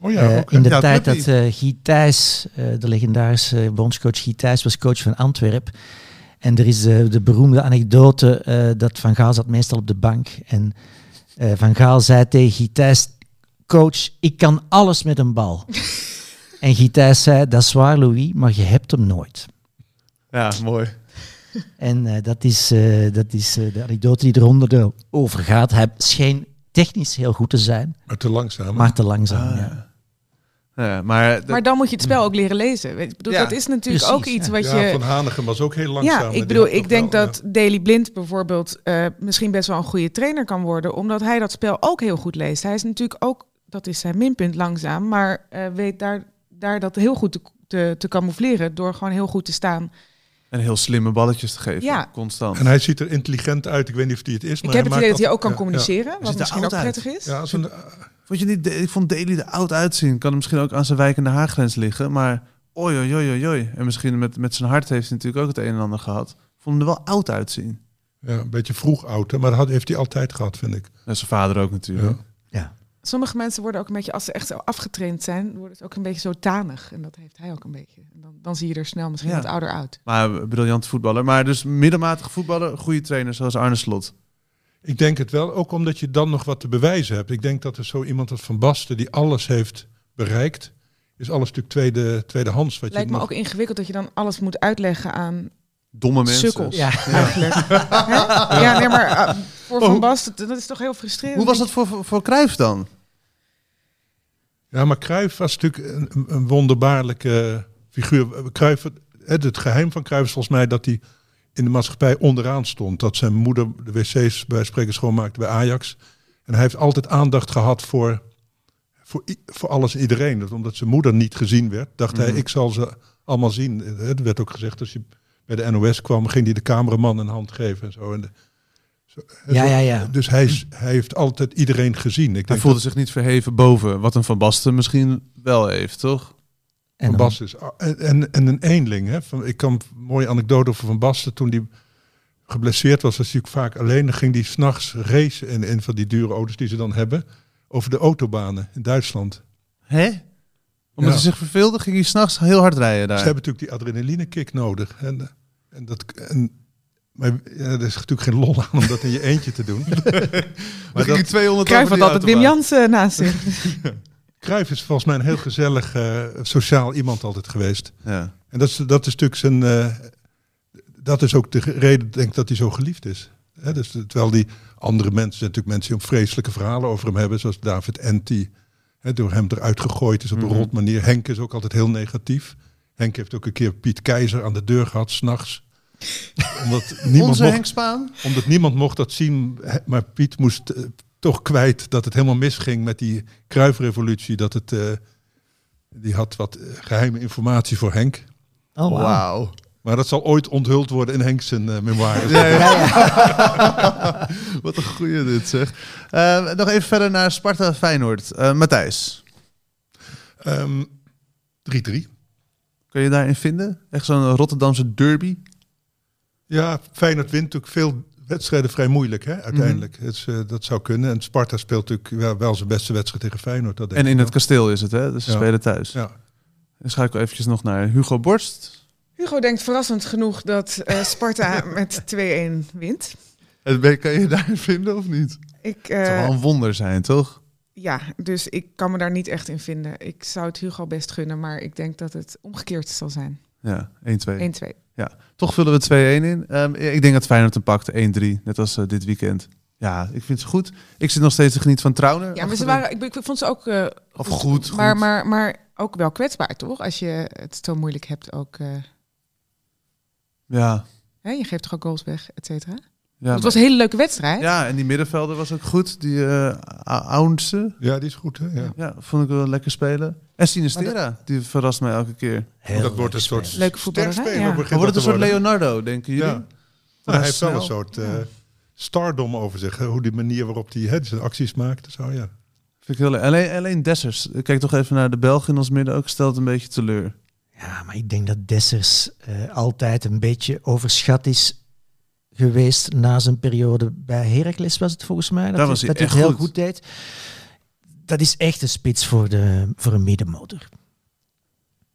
[SPEAKER 3] Oh ja,
[SPEAKER 2] Eh,
[SPEAKER 3] ook, hè?
[SPEAKER 2] in de
[SPEAKER 1] Ja,
[SPEAKER 2] tijd dat
[SPEAKER 1] klopt
[SPEAKER 2] eh Guy Thijs, eh, de legendarische bondscoach Guy Thijs, was coach van Antwerp. En er is eh, de beroemde anekdote eh, dat Van Gaal zat meestal op de bank. En eh, Van Gaal zei tegen Guy Thijs, coach, ik kan alles met een bal. en Guy Thijs zei, dat is waar Louis, maar je hebt hem nooit.
[SPEAKER 1] Ja, mooi.
[SPEAKER 2] En eh, dat is, eh, dat is eh, de anekdote die er honderden over gaat. Hij scheen technisch heel goed te zijn,
[SPEAKER 3] maar te langzaam.
[SPEAKER 2] maar te langzaam.
[SPEAKER 1] Ah.
[SPEAKER 2] ja.
[SPEAKER 1] Ja, maar,
[SPEAKER 5] Maar dan moet je het spel ook leren lezen. Weet- Ik bedoel,
[SPEAKER 1] Ja,
[SPEAKER 5] dat is natuurlijk
[SPEAKER 2] precies,
[SPEAKER 5] ook iets
[SPEAKER 2] ja.
[SPEAKER 5] wat
[SPEAKER 3] ja,
[SPEAKER 5] je...
[SPEAKER 3] Van Hanegem was ook heel langzaam.
[SPEAKER 5] Ja,
[SPEAKER 3] maar die
[SPEAKER 5] ik bedoel,
[SPEAKER 3] had
[SPEAKER 5] ik
[SPEAKER 3] toch
[SPEAKER 5] denk
[SPEAKER 3] wel,
[SPEAKER 5] dat Daley Blind bijvoorbeeld eh, misschien best wel een goede trainer kan worden, omdat hij dat spel ook heel goed leest. Hij is natuurlijk ook, dat is zijn minpunt langzaam, maar eh, weet daar, daar dat heel goed te, te, te camoufleren door gewoon heel goed te staan.
[SPEAKER 1] En heel slimme balletjes te geven.
[SPEAKER 5] Ja.
[SPEAKER 1] Constant.
[SPEAKER 3] ja. En hij ziet er intelligent uit. Ik weet niet of hij het is, maar
[SPEAKER 5] ik heb het
[SPEAKER 3] maakt
[SPEAKER 5] idee dat hij ook
[SPEAKER 3] altijd-
[SPEAKER 5] kan
[SPEAKER 3] ja,
[SPEAKER 5] communiceren,
[SPEAKER 1] zit
[SPEAKER 5] wat
[SPEAKER 1] er
[SPEAKER 5] misschien ook
[SPEAKER 1] altijd.
[SPEAKER 5] prettig is.
[SPEAKER 3] Ja, ja, als een,
[SPEAKER 1] Vond je niet, ik vond Daly er oud uitzien. Kan er misschien ook aan zijn wijkende haargrens liggen. Maar oi, oi, oi, oi, oi. En misschien met, met zijn hart heeft hij natuurlijk ook het een en ander gehad. Vond hem er wel oud uitzien.
[SPEAKER 3] ja, een beetje vroeg oud, hè, maar dat had- heeft hij altijd gehad, vind ik.
[SPEAKER 1] En zijn vader ook natuurlijk.
[SPEAKER 5] Sommige mensen worden ook een beetje, als ze echt zo afgetraind zijn, worden ze ook een beetje zo tanig. En dat heeft hij ook een beetje. En dan, dan zie je er snel misschien
[SPEAKER 1] Ja.
[SPEAKER 5] wat ouder uit.
[SPEAKER 1] Maar een briljante voetballer. Maar dus middelmatige voetballer, goede trainer zoals Arne Slot.
[SPEAKER 3] Ik denk het wel, ook omdat je dan nog wat te bewijzen hebt. Ik denk dat er zo iemand als Van Basten, die alles heeft bereikt, is alles natuurlijk tweede, tweedehands. Wat
[SPEAKER 5] Lijkt
[SPEAKER 3] je
[SPEAKER 5] me
[SPEAKER 3] nog-
[SPEAKER 5] ook ingewikkeld dat je dan alles moet uitleggen aan
[SPEAKER 1] Domme mensen.
[SPEAKER 5] Sukkels.
[SPEAKER 2] Ja.
[SPEAKER 5] eigenlijk. Hè? Ja, nee, maar eh, voor Van Basten, dat is toch heel frustrerend.
[SPEAKER 1] Hoe was dat voor, voor- voor Cruijff dan?
[SPEAKER 3] Ja, maar Cruijff was natuurlijk een- een, een wonderbaarlijke figuur. Cruijff, het, het geheim van Cruijff is volgens mij dat hij in de maatschappij onderaan stond. Dat zijn moeder de wc's bij spreken schoonmaakte bij Ajax. En hij heeft altijd aandacht gehad voor, voor, i- voor alles en iedereen. Dat omdat zijn moeder niet gezien werd, dacht hij,
[SPEAKER 1] Mhm.
[SPEAKER 3] ik zal ze allemaal zien. Het werd ook gezegd, als je bij de NOS kwam, ging hij de cameraman een hand geven en zo. En de- zo- en
[SPEAKER 2] Ja,
[SPEAKER 3] zo.
[SPEAKER 2] ja, ja.
[SPEAKER 3] Dus hij, is- hij heeft altijd iedereen gezien. Ik
[SPEAKER 1] Hij
[SPEAKER 3] denk
[SPEAKER 1] voelde zich niet verheven boven wat een Van Basten misschien wel heeft, toch?
[SPEAKER 2] En
[SPEAKER 3] van
[SPEAKER 2] dan-
[SPEAKER 3] Basten is. En, en, en een eenling. Hè? Van, ik kan een mooie anekdote over Van Basten. Toen hij geblesseerd was, was hij ook vaak alleen. Dan ging hij s'nachts racen in een van die dure auto's die ze dan hebben. Over de autobanen in Duitsland.
[SPEAKER 1] Hè? Omdat
[SPEAKER 3] Ja.
[SPEAKER 1] hij zich verveelde, ging hij s'nachts heel hard rijden daar.
[SPEAKER 3] Ze hebben natuurlijk die adrenaline kick nodig. En, eh, en dat... En, maar ja, er is natuurlijk geen lol aan om dat in je eentje te doen. maar dat,
[SPEAKER 1] 200
[SPEAKER 5] Cruijff had altijd Wim Jansen naast zich.
[SPEAKER 3] Cruijff is volgens mij een heel gezellig, eh, sociaal iemand altijd geweest.
[SPEAKER 1] Ja.
[SPEAKER 3] En dat is, dat is natuurlijk zijn. eh, dat is ook de ge- reden, denk ik, dat hij zo geliefd is. Hè, dus, terwijl die andere mensen, natuurlijk mensen die om vreselijke verhalen over hem hebben, zoals David Enti, hè, door hem eruit gegooid is op een
[SPEAKER 6] Mhm.
[SPEAKER 3] rot manier. Henk is ook altijd heel negatief. Henk heeft ook een keer Piet Keizer aan de deur gehad, s'nachts. Omdat niemand,
[SPEAKER 1] Onze Henk
[SPEAKER 3] mocht,
[SPEAKER 1] Spaan?
[SPEAKER 3] omdat niemand mocht dat zien. hè, Maar Piet moest eh, toch kwijt dat het helemaal misging met die kruifrevolutie. Dat het, eh, die had wat eh, geheime informatie voor Henk.
[SPEAKER 2] Oh, wauw.
[SPEAKER 3] Maar dat zal ooit onthuld worden in Henk's eh, memoires.
[SPEAKER 1] Ja, ja. Wat een goeie dit zeg. Eh, nog even verder naar Sparta Feyenoord. Eh, Matthijs,
[SPEAKER 3] Ehm, 3-3.
[SPEAKER 1] kun je daarin vinden? Echt zo'n Rotterdamse derby?
[SPEAKER 3] Ja, Feyenoord wint natuurlijk veel wedstrijden vrij moeilijk, hè, uiteindelijk.
[SPEAKER 1] Mhm.
[SPEAKER 3] Het is, eh, dat zou kunnen. En Sparta speelt natuurlijk wel, wel zijn beste wedstrijd tegen Feyenoord. Dat denk
[SPEAKER 1] En
[SPEAKER 3] ik
[SPEAKER 1] in
[SPEAKER 3] wel.
[SPEAKER 1] het kasteel is het, hè? Dus ze
[SPEAKER 3] Ja.
[SPEAKER 1] spelen thuis.
[SPEAKER 3] Ja.
[SPEAKER 1] Dan schakel ik eventjes nog naar Hugo Borst.
[SPEAKER 5] Hugo denkt verrassend genoeg dat eh, Sparta met 2-1 wint.
[SPEAKER 1] En ben, kan je daar vinden of niet?
[SPEAKER 5] Ik,
[SPEAKER 1] Het zou
[SPEAKER 5] eh,
[SPEAKER 1] wel een wonder zijn, toch?
[SPEAKER 5] ja, dus ik kan me daar niet echt in vinden. Ik zou het Hugo best gunnen, maar ik denk dat het omgekeerd zal zijn. 1-2.
[SPEAKER 1] Ja, 1-2. Toch vullen we 2-1 in. Ehm, ik denk dat Feyenoord hem pakt. 1-3, net als eh, dit weekend. Ja, ik vind ze goed. Ik zit nog steeds te genieten van Trauner.
[SPEAKER 5] Ja, maar ze
[SPEAKER 1] Achterin.
[SPEAKER 5] waren, ik, be- ik vond ze ook... eh,
[SPEAKER 1] Of goed, goed.
[SPEAKER 5] Maar, maar, maar ook wel kwetsbaar, toch? Als je het zo moeilijk hebt ook... eh,
[SPEAKER 1] Ja,
[SPEAKER 5] hè, je geeft toch ook goals weg, et cetera?
[SPEAKER 1] ja,
[SPEAKER 5] het was een hele leuke wedstrijd.
[SPEAKER 1] ja, en die middenvelder was ook goed. Die eh Ounce,
[SPEAKER 3] ja, die is goed. Hè? Ja.
[SPEAKER 1] ja, vond ik wel lekker spelen. En Sinistera, die verrast mij elke keer.
[SPEAKER 2] Heel
[SPEAKER 3] dat wordt een
[SPEAKER 2] leuk
[SPEAKER 3] soort
[SPEAKER 2] gespeeld.
[SPEAKER 5] Leuke voetballer, hè?
[SPEAKER 3] sterkspeler
[SPEAKER 5] Ja.
[SPEAKER 3] begint
[SPEAKER 1] Maar wordt het een
[SPEAKER 3] dat
[SPEAKER 1] soort
[SPEAKER 3] te worden.
[SPEAKER 1] Leonardo, denken jullie?
[SPEAKER 3] Ja. Nou, hij heeft wel
[SPEAKER 1] snel.
[SPEAKER 3] een soort eh, stardom over zich. hè, Hoe die manier waarop hij hè, zijn acties maakt. en Zo, ja.
[SPEAKER 1] Vind ik heel leuk. Alleen, alleen Dessers. Ik Kijk toch even naar de Belgen in ons midden. Ook stelt een beetje teleur.
[SPEAKER 2] Ja, maar ik denk dat Dessers eh, altijd een beetje overschat is geweest na zijn periode bij Heracles was het volgens mij. Dat,
[SPEAKER 1] Daar was hij
[SPEAKER 2] dat hij
[SPEAKER 1] echt
[SPEAKER 2] het heel
[SPEAKER 1] goed.
[SPEAKER 2] goed. deed. Dat is echt een spits voor, de, voor een middenmotor.
[SPEAKER 1] Is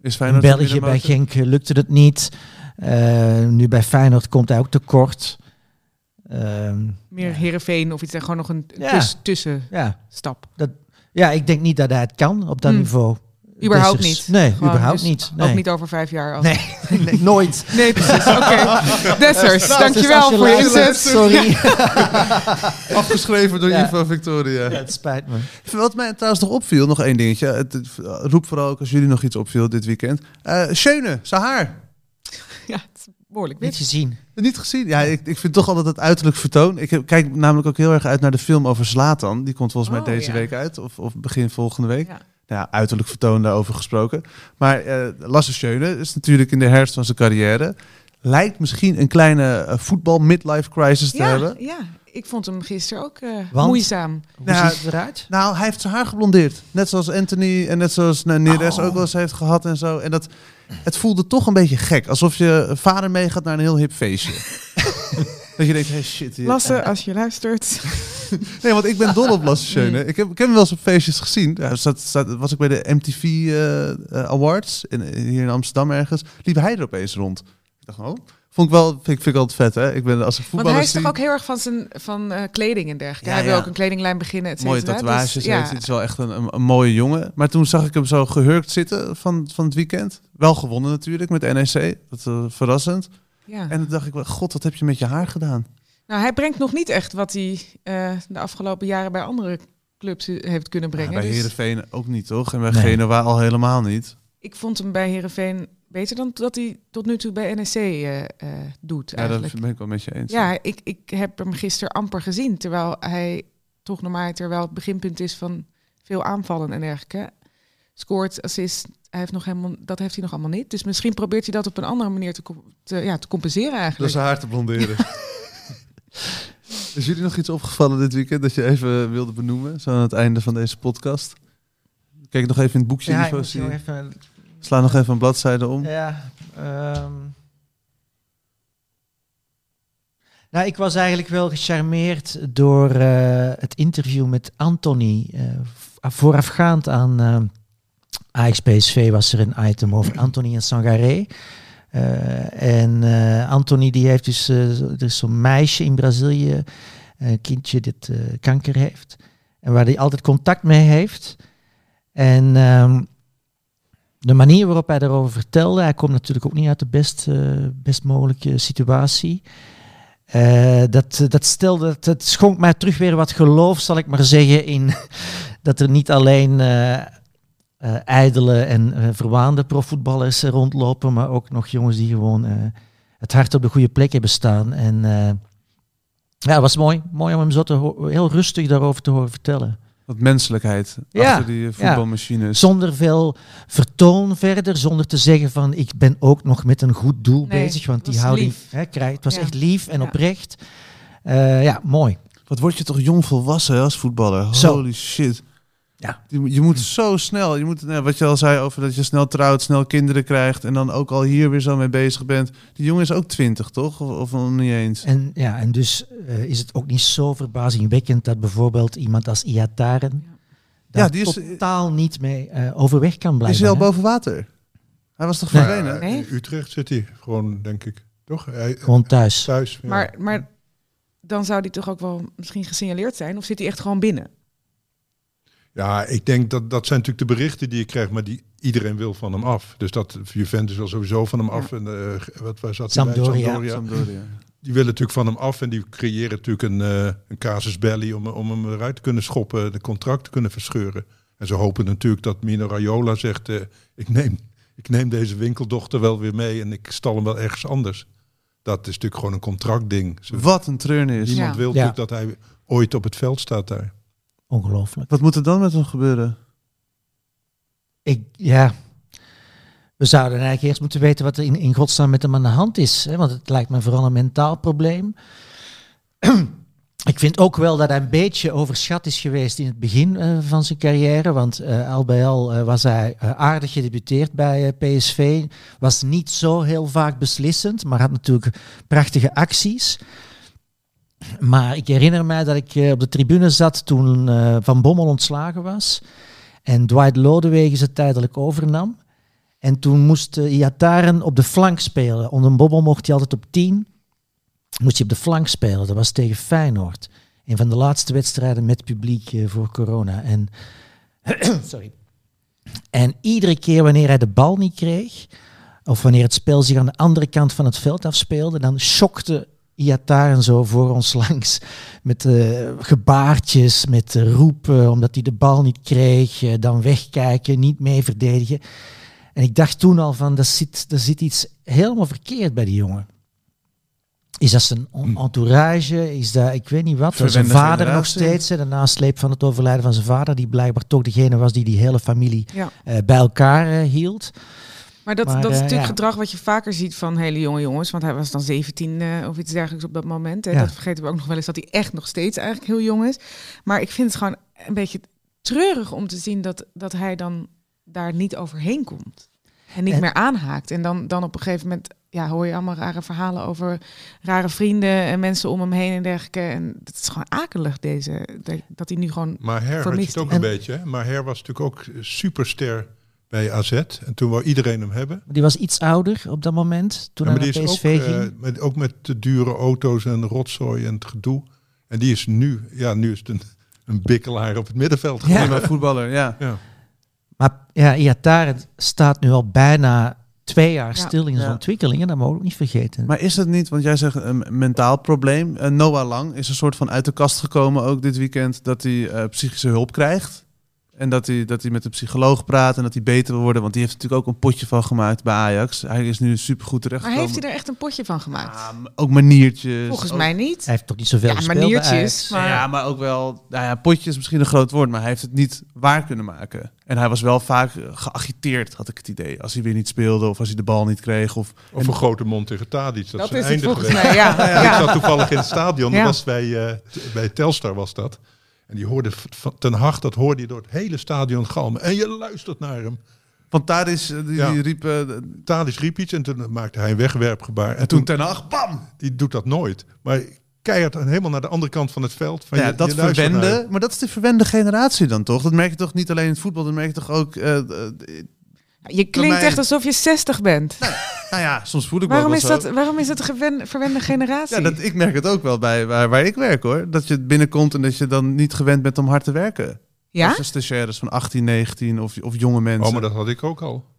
[SPEAKER 2] In
[SPEAKER 1] Feyenoord een
[SPEAKER 2] België bij
[SPEAKER 1] middenmotor?
[SPEAKER 2] Genk eh, lukte het niet. Eh, nu bij Feyenoord komt hij ook tekort. Ehm,
[SPEAKER 5] Meer
[SPEAKER 2] Ja.
[SPEAKER 5] Herenveen of iets. en Gewoon nog een
[SPEAKER 2] Ja.
[SPEAKER 5] tuss- tussenstap.
[SPEAKER 2] ja. ja, ik denk niet dat hij het kan op dat
[SPEAKER 5] Hmm.
[SPEAKER 2] niveau.
[SPEAKER 5] Überhaupt
[SPEAKER 2] Dessers.
[SPEAKER 5] niet.
[SPEAKER 2] Nee,
[SPEAKER 5] Gewoon,
[SPEAKER 2] überhaupt
[SPEAKER 5] dus
[SPEAKER 2] niet. Nee.
[SPEAKER 5] Ook niet over vijf jaar. Als...
[SPEAKER 2] Nee, nee, nooit.
[SPEAKER 5] Nee, precies. Oké. Dessers,
[SPEAKER 2] Nou,
[SPEAKER 5] dankjewel
[SPEAKER 2] dus als
[SPEAKER 5] voor je
[SPEAKER 2] luistert,
[SPEAKER 5] inzet.
[SPEAKER 2] Sorry.
[SPEAKER 1] Afgeschreven door
[SPEAKER 2] Ja.
[SPEAKER 1] Ivo Victoria.
[SPEAKER 2] Ja, het spijt me.
[SPEAKER 1] Wat mij trouwens nog opviel, nog één dingetje. Het, het- roep vooral ook als jullie nog iets opviel dit weekend. Eh Schöne, zijn haar.
[SPEAKER 5] Ja, het is behoorlijk
[SPEAKER 2] Niet
[SPEAKER 5] wit.
[SPEAKER 2] gezien.
[SPEAKER 1] Niet gezien. Ja, ik, ik vind toch altijd het uiterlijk vertoon. Ik heb- kijk namelijk ook heel erg uit naar de film over Slatan. Die komt volgens mij
[SPEAKER 5] Oh,
[SPEAKER 1] deze
[SPEAKER 5] ja.
[SPEAKER 1] week uit. Of, of begin volgende week.
[SPEAKER 5] Ja.
[SPEAKER 1] Nou ja, uiterlijk vertoon daarover gesproken. Maar eh Lasse Schöne is natuurlijk in de herfst van zijn carrière. Lijkt misschien een kleine eh, voetbal-midlife-crisis te
[SPEAKER 5] Ja,
[SPEAKER 1] hebben.
[SPEAKER 5] ja, ik vond hem gisteren ook eh,
[SPEAKER 2] Want?
[SPEAKER 5] moeizaam.
[SPEAKER 2] Hoe
[SPEAKER 1] Nou,
[SPEAKER 2] ziet het eruit?
[SPEAKER 1] Nou, hij heeft zijn haar geblondeerd. Net zoals Anthony en net zoals nou, Neres
[SPEAKER 2] Oh.
[SPEAKER 1] ook wel eens heeft gehad en zo. En dat, het voelde toch een beetje gek. Alsof je vader meegaat naar een heel hip feestje. dat je denkt, hey, shit. hier-
[SPEAKER 5] Lasse, als je luistert.
[SPEAKER 1] Nee, want ik ben dol op Lasse Schöne. Ik heb, ik heb hem wel eens op feestjes gezien. Ja, zat, zat- was ik bij de MTV eh, eh, Awards in, hier in Amsterdam ergens. Liep hij er opeens rond. Ik dacht, oh. Vond ik wel, vind, ik- vind ik altijd vet, hè? Ik ben als een
[SPEAKER 5] Want hij
[SPEAKER 1] voetballer
[SPEAKER 5] is toch ook heel erg van zijn van, eh, kleding en dergelijke.
[SPEAKER 1] Ja,
[SPEAKER 5] hij wil
[SPEAKER 1] ja.
[SPEAKER 5] ook een kledinglijn beginnen, et
[SPEAKER 1] mooie
[SPEAKER 5] cetera. Dus,
[SPEAKER 1] tatoeages
[SPEAKER 5] ja.
[SPEAKER 1] heeft. Het is wel echt een, een, een mooie jongen. Maar toen zag ik hem zo gehurkt zitten van, van het weekend. Wel gewonnen natuurlijk met NEC. Dat eh, verrassend.
[SPEAKER 5] Ja.
[SPEAKER 1] En toen dacht ik, wel, god, wat heb je met je haar gedaan?
[SPEAKER 5] Nou, hij brengt nog niet echt wat hij eh, de afgelopen jaren bij andere clubs eh, heeft kunnen brengen.
[SPEAKER 1] Ja, bij
[SPEAKER 5] Dus
[SPEAKER 1] Herenveen ook niet, toch? En bij
[SPEAKER 2] Nee.
[SPEAKER 1] Genoa al helemaal niet.
[SPEAKER 5] ik vond hem bij Herenveen beter dan dat hij tot nu toe bij NEC eh, eh, doet.
[SPEAKER 1] Ja,
[SPEAKER 5] eigenlijk.
[SPEAKER 1] dat ben ik wel met je eens.
[SPEAKER 5] Ja, ik, ik heb hem gisteren amper gezien. Terwijl hij toch normaal, terwijl het beginpunt is van veel aanvallen en dergelijke. Scoort, assist, hij heeft nog helemaal, dat heeft hij nog allemaal niet. Dus misschien probeert hij dat op een andere manier te, co- te, ja, te compenseren eigenlijk.
[SPEAKER 1] zijn haar te blonderen. Is jullie nog iets opgevallen dit weekend dat je even wilde benoemen? Zo aan het einde van deze podcast. Kijk nog even in het boekje.
[SPEAKER 2] Ja, ik
[SPEAKER 1] Ivo,
[SPEAKER 2] moet
[SPEAKER 1] zie
[SPEAKER 2] nog
[SPEAKER 1] je.
[SPEAKER 2] even...
[SPEAKER 1] Sla nog even een bladzijde
[SPEAKER 5] Eh.
[SPEAKER 1] om.
[SPEAKER 2] Ja, ehm. Nou, ik was eigenlijk wel gecharmeerd door eh, het interview met Anthony. Eh, v- voorafgaand aan eh AXPSV was er een item over Anthony en Sangaré. Eh, en eh, Anthony die heeft dus, eh, zo- er is zo'n meisje in Brazilië, een kindje dat eh, kanker heeft. En waar hij altijd contact mee heeft. En ehm, de manier waarop hij daarover vertelde, hij komt natuurlijk ook niet uit de best, eh, best mogelijke situatie. Eh, dat, eh, dat stelde, dat, dat schonk mij terug weer wat geloof, zal ik maar zeggen, in dat er niet alleen eh eh, ijdele en eh, verwaande profvoetballers eh, rondlopen, maar ook nog jongens die gewoon eh, het hart op de goede plek hebben staan. En eh, ja, het was mooi. Mooi om hem zo te ho- heel rustig daarover te horen vertellen.
[SPEAKER 1] Wat menselijkheid
[SPEAKER 2] Ja,
[SPEAKER 1] achter die eh,
[SPEAKER 5] Dus-
[SPEAKER 1] voetbalmachines.
[SPEAKER 2] Zonder veel vertoon verder, zonder te zeggen van ik ben ook nog met een goed doel
[SPEAKER 5] Nee,
[SPEAKER 2] bezig. Want
[SPEAKER 5] het
[SPEAKER 2] die
[SPEAKER 5] was
[SPEAKER 2] houding
[SPEAKER 5] lief.
[SPEAKER 2] hè, krijg, het was
[SPEAKER 5] Ja.
[SPEAKER 2] echt lief en
[SPEAKER 5] Ja.
[SPEAKER 2] oprecht. Eh, ja, mooi.
[SPEAKER 1] Wat word je toch jong volwassen hè, als voetballer?
[SPEAKER 2] Zo.
[SPEAKER 1] Holy shit.
[SPEAKER 2] Ja.
[SPEAKER 1] Je, moet- je moet zo snel. Je moet, nou, wat je al zei over dat je snel trouwt, snel kinderen krijgt. En dan ook al hier weer zo mee bezig bent. Die jongen is ook twintig, toch? Of, of nog niet eens?
[SPEAKER 2] En, ja, en dus eh, is het ook niet zo verbazingwekkend dat bijvoorbeeld iemand als Iataren daar
[SPEAKER 1] Ja, die is- eh,
[SPEAKER 2] totaal niet mee eh, overweg kan blijven.
[SPEAKER 1] is hij al
[SPEAKER 2] hè?
[SPEAKER 1] boven water? Hij was toch
[SPEAKER 2] Nee.
[SPEAKER 1] verdwenen?
[SPEAKER 3] Ja,
[SPEAKER 5] Nee.
[SPEAKER 3] In eh, Utrecht zit hij gewoon, denk ik. Toch? Hij,
[SPEAKER 2] Gewoon thuis.
[SPEAKER 3] thuis. ja.
[SPEAKER 5] Maar, maar dan zou die toch ook wel misschien gesignaleerd zijn? Of zit hij echt gewoon binnen?
[SPEAKER 3] Ja, ik denk dat dat zijn natuurlijk de berichten die je krijgt, maar die iedereen wil van hem af. Dus dat Juventus wil sowieso van hem af. En eh, wat was dat?
[SPEAKER 2] Sampdoria.
[SPEAKER 1] Sampdoria.
[SPEAKER 3] Die willen natuurlijk van hem af en die creëren natuurlijk een, eh, een casus belli om, om hem eruit te kunnen schoppen, de contract te kunnen verscheuren. En ze hopen natuurlijk dat Mino Raiola zegt: eh, ik, neem, ik neem deze winkeldochter wel weer mee en ik stal hem wel ergens anders. Dat is natuurlijk gewoon een contractding. Ze-
[SPEAKER 1] Wat een treurnis.
[SPEAKER 3] Niemand
[SPEAKER 5] Ja.
[SPEAKER 3] wil
[SPEAKER 2] Ja.
[SPEAKER 3] natuurlijk dat hij ooit op het veld staat daar.
[SPEAKER 2] Ongelooflijk.
[SPEAKER 1] Wat moet er dan met hem gebeuren?
[SPEAKER 2] Ik, ja. We zouden eigenlijk eerst moeten weten wat er in, in godsnaam met hem aan de hand is. Hè? Want het lijkt me vooral een mentaal probleem. Ik vind ook wel dat hij een beetje overschat is geweest in het begin eh, van zijn carrière. Want eh al bij al eh, was hij eh, aardig gedebuteerd bij eh, PSV. Was niet zo heel vaak beslissend, maar had natuurlijk prachtige acties. Maar ik herinner mij dat ik eh, op de tribune zat toen eh, Van Bommel ontslagen was. En Dwight Lodewegen ze tijdelijk overnam. En toen moest eh, Iataren op de flank spelen. Onder een bobbel mocht hij altijd op 10. Moest hij op de flank spelen. Dat was tegen Feyenoord. Een van de laatste wedstrijden met publiek eh, voor corona. En, sorry. En iedere keer wanneer hij de bal niet kreeg, of wanneer het spel zich aan de andere kant van het veld afspeelde, dan schokte Iataren zo voor ons langs met eh, gebaartjes, met eh, roepen, omdat hij de bal niet kreeg, eh, dan wegkijken, niet mee verdedigen. En ik dacht toen al van, daar zit, daar zit iets helemaal verkeerd bij die jongen. Is dat zijn en- entourage? Is dat, ik weet niet wat. Zijn
[SPEAKER 1] Hm. Verwende
[SPEAKER 2] vader nog
[SPEAKER 1] generatie.
[SPEAKER 2] steeds, hè, de nasleep van het overlijden van zijn vader, die blijkbaar toch degene was die die hele familie
[SPEAKER 5] Ja.
[SPEAKER 2] eh, bij elkaar eh, hield.
[SPEAKER 5] Maar dat,
[SPEAKER 2] Maar,
[SPEAKER 5] dat is
[SPEAKER 2] eh,
[SPEAKER 5] natuurlijk
[SPEAKER 2] ja.
[SPEAKER 5] gedrag wat je vaker ziet van hele jonge jongens. Want hij was dan 17 eh, of iets dergelijks op dat moment. Hè.
[SPEAKER 2] Ja.
[SPEAKER 5] Dat vergeten we ook nog wel eens dat hij echt nog steeds eigenlijk heel jong is. Maar ik vind het gewoon een beetje treurig om te zien dat, dat hij dan daar niet overheen komt. En niet
[SPEAKER 2] En-
[SPEAKER 5] meer aanhaakt. En dan, dan op een gegeven moment ja, hoor je allemaal rare verhalen over rare vrienden en mensen om hem heen en dergelijke. En dat is gewoon akelig, deze, dat- dat hij nu gewoon
[SPEAKER 3] Maar Her had je
[SPEAKER 5] Vermist.
[SPEAKER 3] het ook
[SPEAKER 2] En-
[SPEAKER 3] een beetje. Hè? Maar Her was natuurlijk ook eh, superster bij AZ. En toen wou iedereen hem hebben.
[SPEAKER 2] Die was iets ouder op dat moment, toen
[SPEAKER 3] Ja, maar
[SPEAKER 2] hij
[SPEAKER 3] die
[SPEAKER 2] naar
[SPEAKER 3] is ook,
[SPEAKER 2] PSV ging.
[SPEAKER 3] eh, met, ook met de dure auto's en rotzooi en het gedoe. En die is nu, ja, nu is het een, een bikkelaar op het middenveld.
[SPEAKER 2] Ja.
[SPEAKER 3] geworden.
[SPEAKER 1] Prima voetballer, ja.
[SPEAKER 3] Ja.
[SPEAKER 2] Maar ja, Iataren staat nu al bijna twee jaar
[SPEAKER 5] Ja.
[SPEAKER 2] stil in zijn
[SPEAKER 1] Ja.
[SPEAKER 2] ontwikkelingen. Dat mogen we ook niet vergeten.
[SPEAKER 1] Maar is het niet, want jij zegt een mentaal probleem. Eh, Noah Lang is een soort van uit de kast gekomen ook dit weekend. Dat hij eh, psychische hulp krijgt. En dat hij, dat hij met een psycholoog praat en dat hij beter wil worden. Want die heeft natuurlijk ook een potje van gemaakt bij Ajax. Hij is nu supergoed
[SPEAKER 5] Maar
[SPEAKER 1] terechtgekomen.
[SPEAKER 5] heeft hij er echt een potje van gemaakt?
[SPEAKER 1] Ah, m- ook maniertjes.
[SPEAKER 5] Volgens
[SPEAKER 1] dus ook-
[SPEAKER 5] mij niet.
[SPEAKER 2] Hij heeft toch niet zoveel
[SPEAKER 5] Ja,
[SPEAKER 2] gespeeld bij
[SPEAKER 5] maniertjes.
[SPEAKER 2] Ajax?
[SPEAKER 5] Maar,
[SPEAKER 1] Ja, maar ook wel... Nou ja, potje is misschien een groot woord, maar hij heeft het niet waar kunnen maken. En hij was wel vaak eh, geagiteerd, had ik het idee. Als hij weer niet speelde of als hij de bal niet kreeg. Of,
[SPEAKER 3] Of een grote mond tegen Tadic. Dat,
[SPEAKER 5] dat
[SPEAKER 3] is
[SPEAKER 5] is het
[SPEAKER 3] een einde
[SPEAKER 5] volgens
[SPEAKER 3] geweest.
[SPEAKER 5] mij, ja. ja.
[SPEAKER 3] Ik zat toevallig in het stadion.
[SPEAKER 5] Ja.
[SPEAKER 3] Dat was bij, eh, t- bij Telstar was dat. En die hoorde v- van Ten Hag, dat hoorde je door het hele stadion galmen. En je luistert naar hem.
[SPEAKER 1] want daar is, eh, die,
[SPEAKER 3] Ja.
[SPEAKER 1] die riep... eh, en
[SPEAKER 3] Tadic riep iets en toen maakte hij een wegwerpgebaar. En
[SPEAKER 1] toen
[SPEAKER 3] toen,
[SPEAKER 1] ten acht, bam!
[SPEAKER 3] die doet dat nooit. Maar keihard en helemaal naar de andere kant van het veld. Van
[SPEAKER 1] Nou ja,
[SPEAKER 3] je-
[SPEAKER 1] dat
[SPEAKER 3] je luistert naar hem.
[SPEAKER 1] verwende, maar dat is de verwende generatie dan toch? Dat merk je toch niet alleen in het voetbal, dat merk je toch ook... eh, eh,
[SPEAKER 5] Je klinkt
[SPEAKER 1] mij-
[SPEAKER 5] echt alsof je 60 bent.
[SPEAKER 1] nou ja, soms voel ik me
[SPEAKER 5] waarom,
[SPEAKER 1] ook
[SPEAKER 5] is
[SPEAKER 1] wel
[SPEAKER 5] dat,
[SPEAKER 1] zo.
[SPEAKER 5] waarom is dat een gewen- verwende generatie?
[SPEAKER 1] Ja, dat, ik merk het ook wel bij waar, waar ik werk hoor. Dat je binnenkomt en dat je dan niet gewend bent om hard te werken.
[SPEAKER 5] Ja?
[SPEAKER 1] Als stagiaires van 18, 19 of, of jonge mensen.
[SPEAKER 3] Oh, maar dat had ik ook al.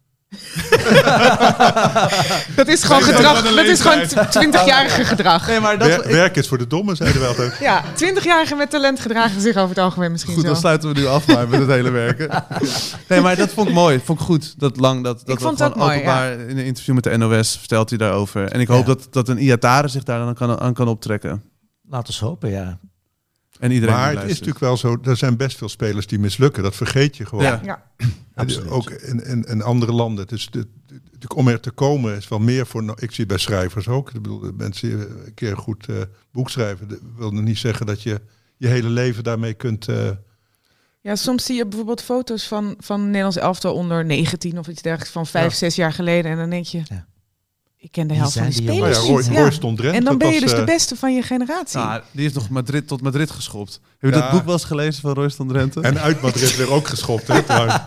[SPEAKER 5] Dat is gewoon
[SPEAKER 3] Nee,
[SPEAKER 5] gedrag.
[SPEAKER 3] dat is
[SPEAKER 5] Dat is gewoon
[SPEAKER 3] leeftijd.
[SPEAKER 5] 20-jarige gedrag.
[SPEAKER 1] Nee, maar dat...
[SPEAKER 3] Wer- werk is voor de dommen, zeiden we altijd.
[SPEAKER 5] Ja, 20-jarigen met talent gedragen zich over het algemeen misschien
[SPEAKER 1] Goed,
[SPEAKER 5] zo.
[SPEAKER 1] dan sluiten we nu af maar met het hele werken. Nee, maar dat vond ik mooi. Vond ik goed. Dat lang dat, dat
[SPEAKER 5] Ik vond
[SPEAKER 1] dat
[SPEAKER 5] het ook mooi,
[SPEAKER 1] openbaar in een interview met de NOS vertelt hij daarover. En ik hoop
[SPEAKER 2] Ja.
[SPEAKER 1] dat, dat een Iatare zich daar dan kan, aan kan optrekken.
[SPEAKER 2] Laten we hopen, ja.
[SPEAKER 1] En iedereen
[SPEAKER 3] Maar
[SPEAKER 1] die
[SPEAKER 3] het
[SPEAKER 1] luistert.
[SPEAKER 3] is natuurlijk wel zo, er zijn best veel spelers die mislukken. Dat vergeet je gewoon.
[SPEAKER 1] Ja.
[SPEAKER 5] Ja.
[SPEAKER 3] En
[SPEAKER 2] Absoluut.
[SPEAKER 3] Ook in, in, in andere landen. Dus de- de- de- om er te komen is wel meer voor... nou, Ik zie het bij schrijvers ook. Ik bedoel, de mensen die een keer een goed eh, boek schrijven... dat wil nog niet zeggen dat je je hele leven daarmee kunt... eh,
[SPEAKER 5] ja, soms zie je bijvoorbeeld foto's van, van Nederlands elftal onder 19 of iets dergelijks van 5, 6 jaar geleden. En dan denk je,
[SPEAKER 2] Ja.
[SPEAKER 5] ik ken de
[SPEAKER 2] Wie
[SPEAKER 5] helft van
[SPEAKER 2] zijn
[SPEAKER 5] die
[SPEAKER 2] die
[SPEAKER 3] nou
[SPEAKER 5] spelers
[SPEAKER 3] ja,
[SPEAKER 2] jongens?
[SPEAKER 3] Roy,
[SPEAKER 5] niet.
[SPEAKER 3] Roy
[SPEAKER 5] Ja.
[SPEAKER 3] stond Drent.
[SPEAKER 5] En dan
[SPEAKER 3] Dat
[SPEAKER 5] ben je
[SPEAKER 3] was,
[SPEAKER 5] dus de
[SPEAKER 3] eh,
[SPEAKER 5] beste van je generatie.
[SPEAKER 1] Ah, die heeft nog Madrid tot Madrid geschopt. Heb je
[SPEAKER 3] Ja.
[SPEAKER 1] dat boek wel eens gelezen van Royston Drenthe?
[SPEAKER 3] En uit Madrid weer ook geschopt. Hè, trouwens.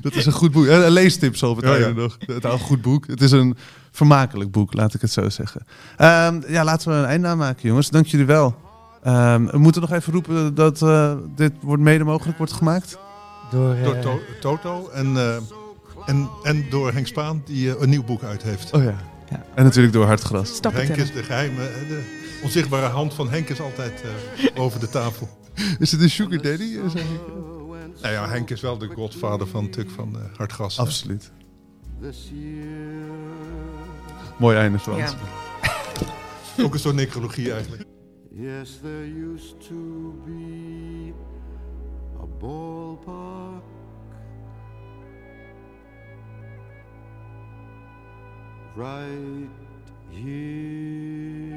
[SPEAKER 1] Dat is een goed boek. Eh, Leestips over het
[SPEAKER 3] Ja, ja.
[SPEAKER 1] einde nog. Het is een goed boek. Het is een vermakelijk boek, laat ik het zo zeggen. Ehm, ja, laten we een einde aan maken, jongens. Dank jullie wel. Ehm, we moeten nog even roepen dat eh, dit wordt mede mogelijk wordt gemaakt.
[SPEAKER 2] Door,
[SPEAKER 3] Door
[SPEAKER 2] eh,
[SPEAKER 3] To- Toto en, eh, en, en door Henk Spaan, die eh, een nieuw boek uit heeft.
[SPEAKER 1] Oh ja.
[SPEAKER 2] Ja.
[SPEAKER 1] En natuurlijk door Hartgras.
[SPEAKER 5] Stappen
[SPEAKER 3] Henk
[SPEAKER 5] tellen.
[SPEAKER 3] is de geheime... eh, De onzichtbare hand van Henk is altijd eh, boven de tafel.
[SPEAKER 1] Is het een sugar daddy? eh, zeg ik?
[SPEAKER 3] Nou ja, Henk is wel de godvader van Tuk van eh Hartgas. hè.
[SPEAKER 1] Absoluut.
[SPEAKER 4] This year.
[SPEAKER 1] Mooi einde, Frans.
[SPEAKER 5] Ja.
[SPEAKER 3] Ook een soort necrologie eigenlijk.
[SPEAKER 4] Yes, there used to be a ballpark right here.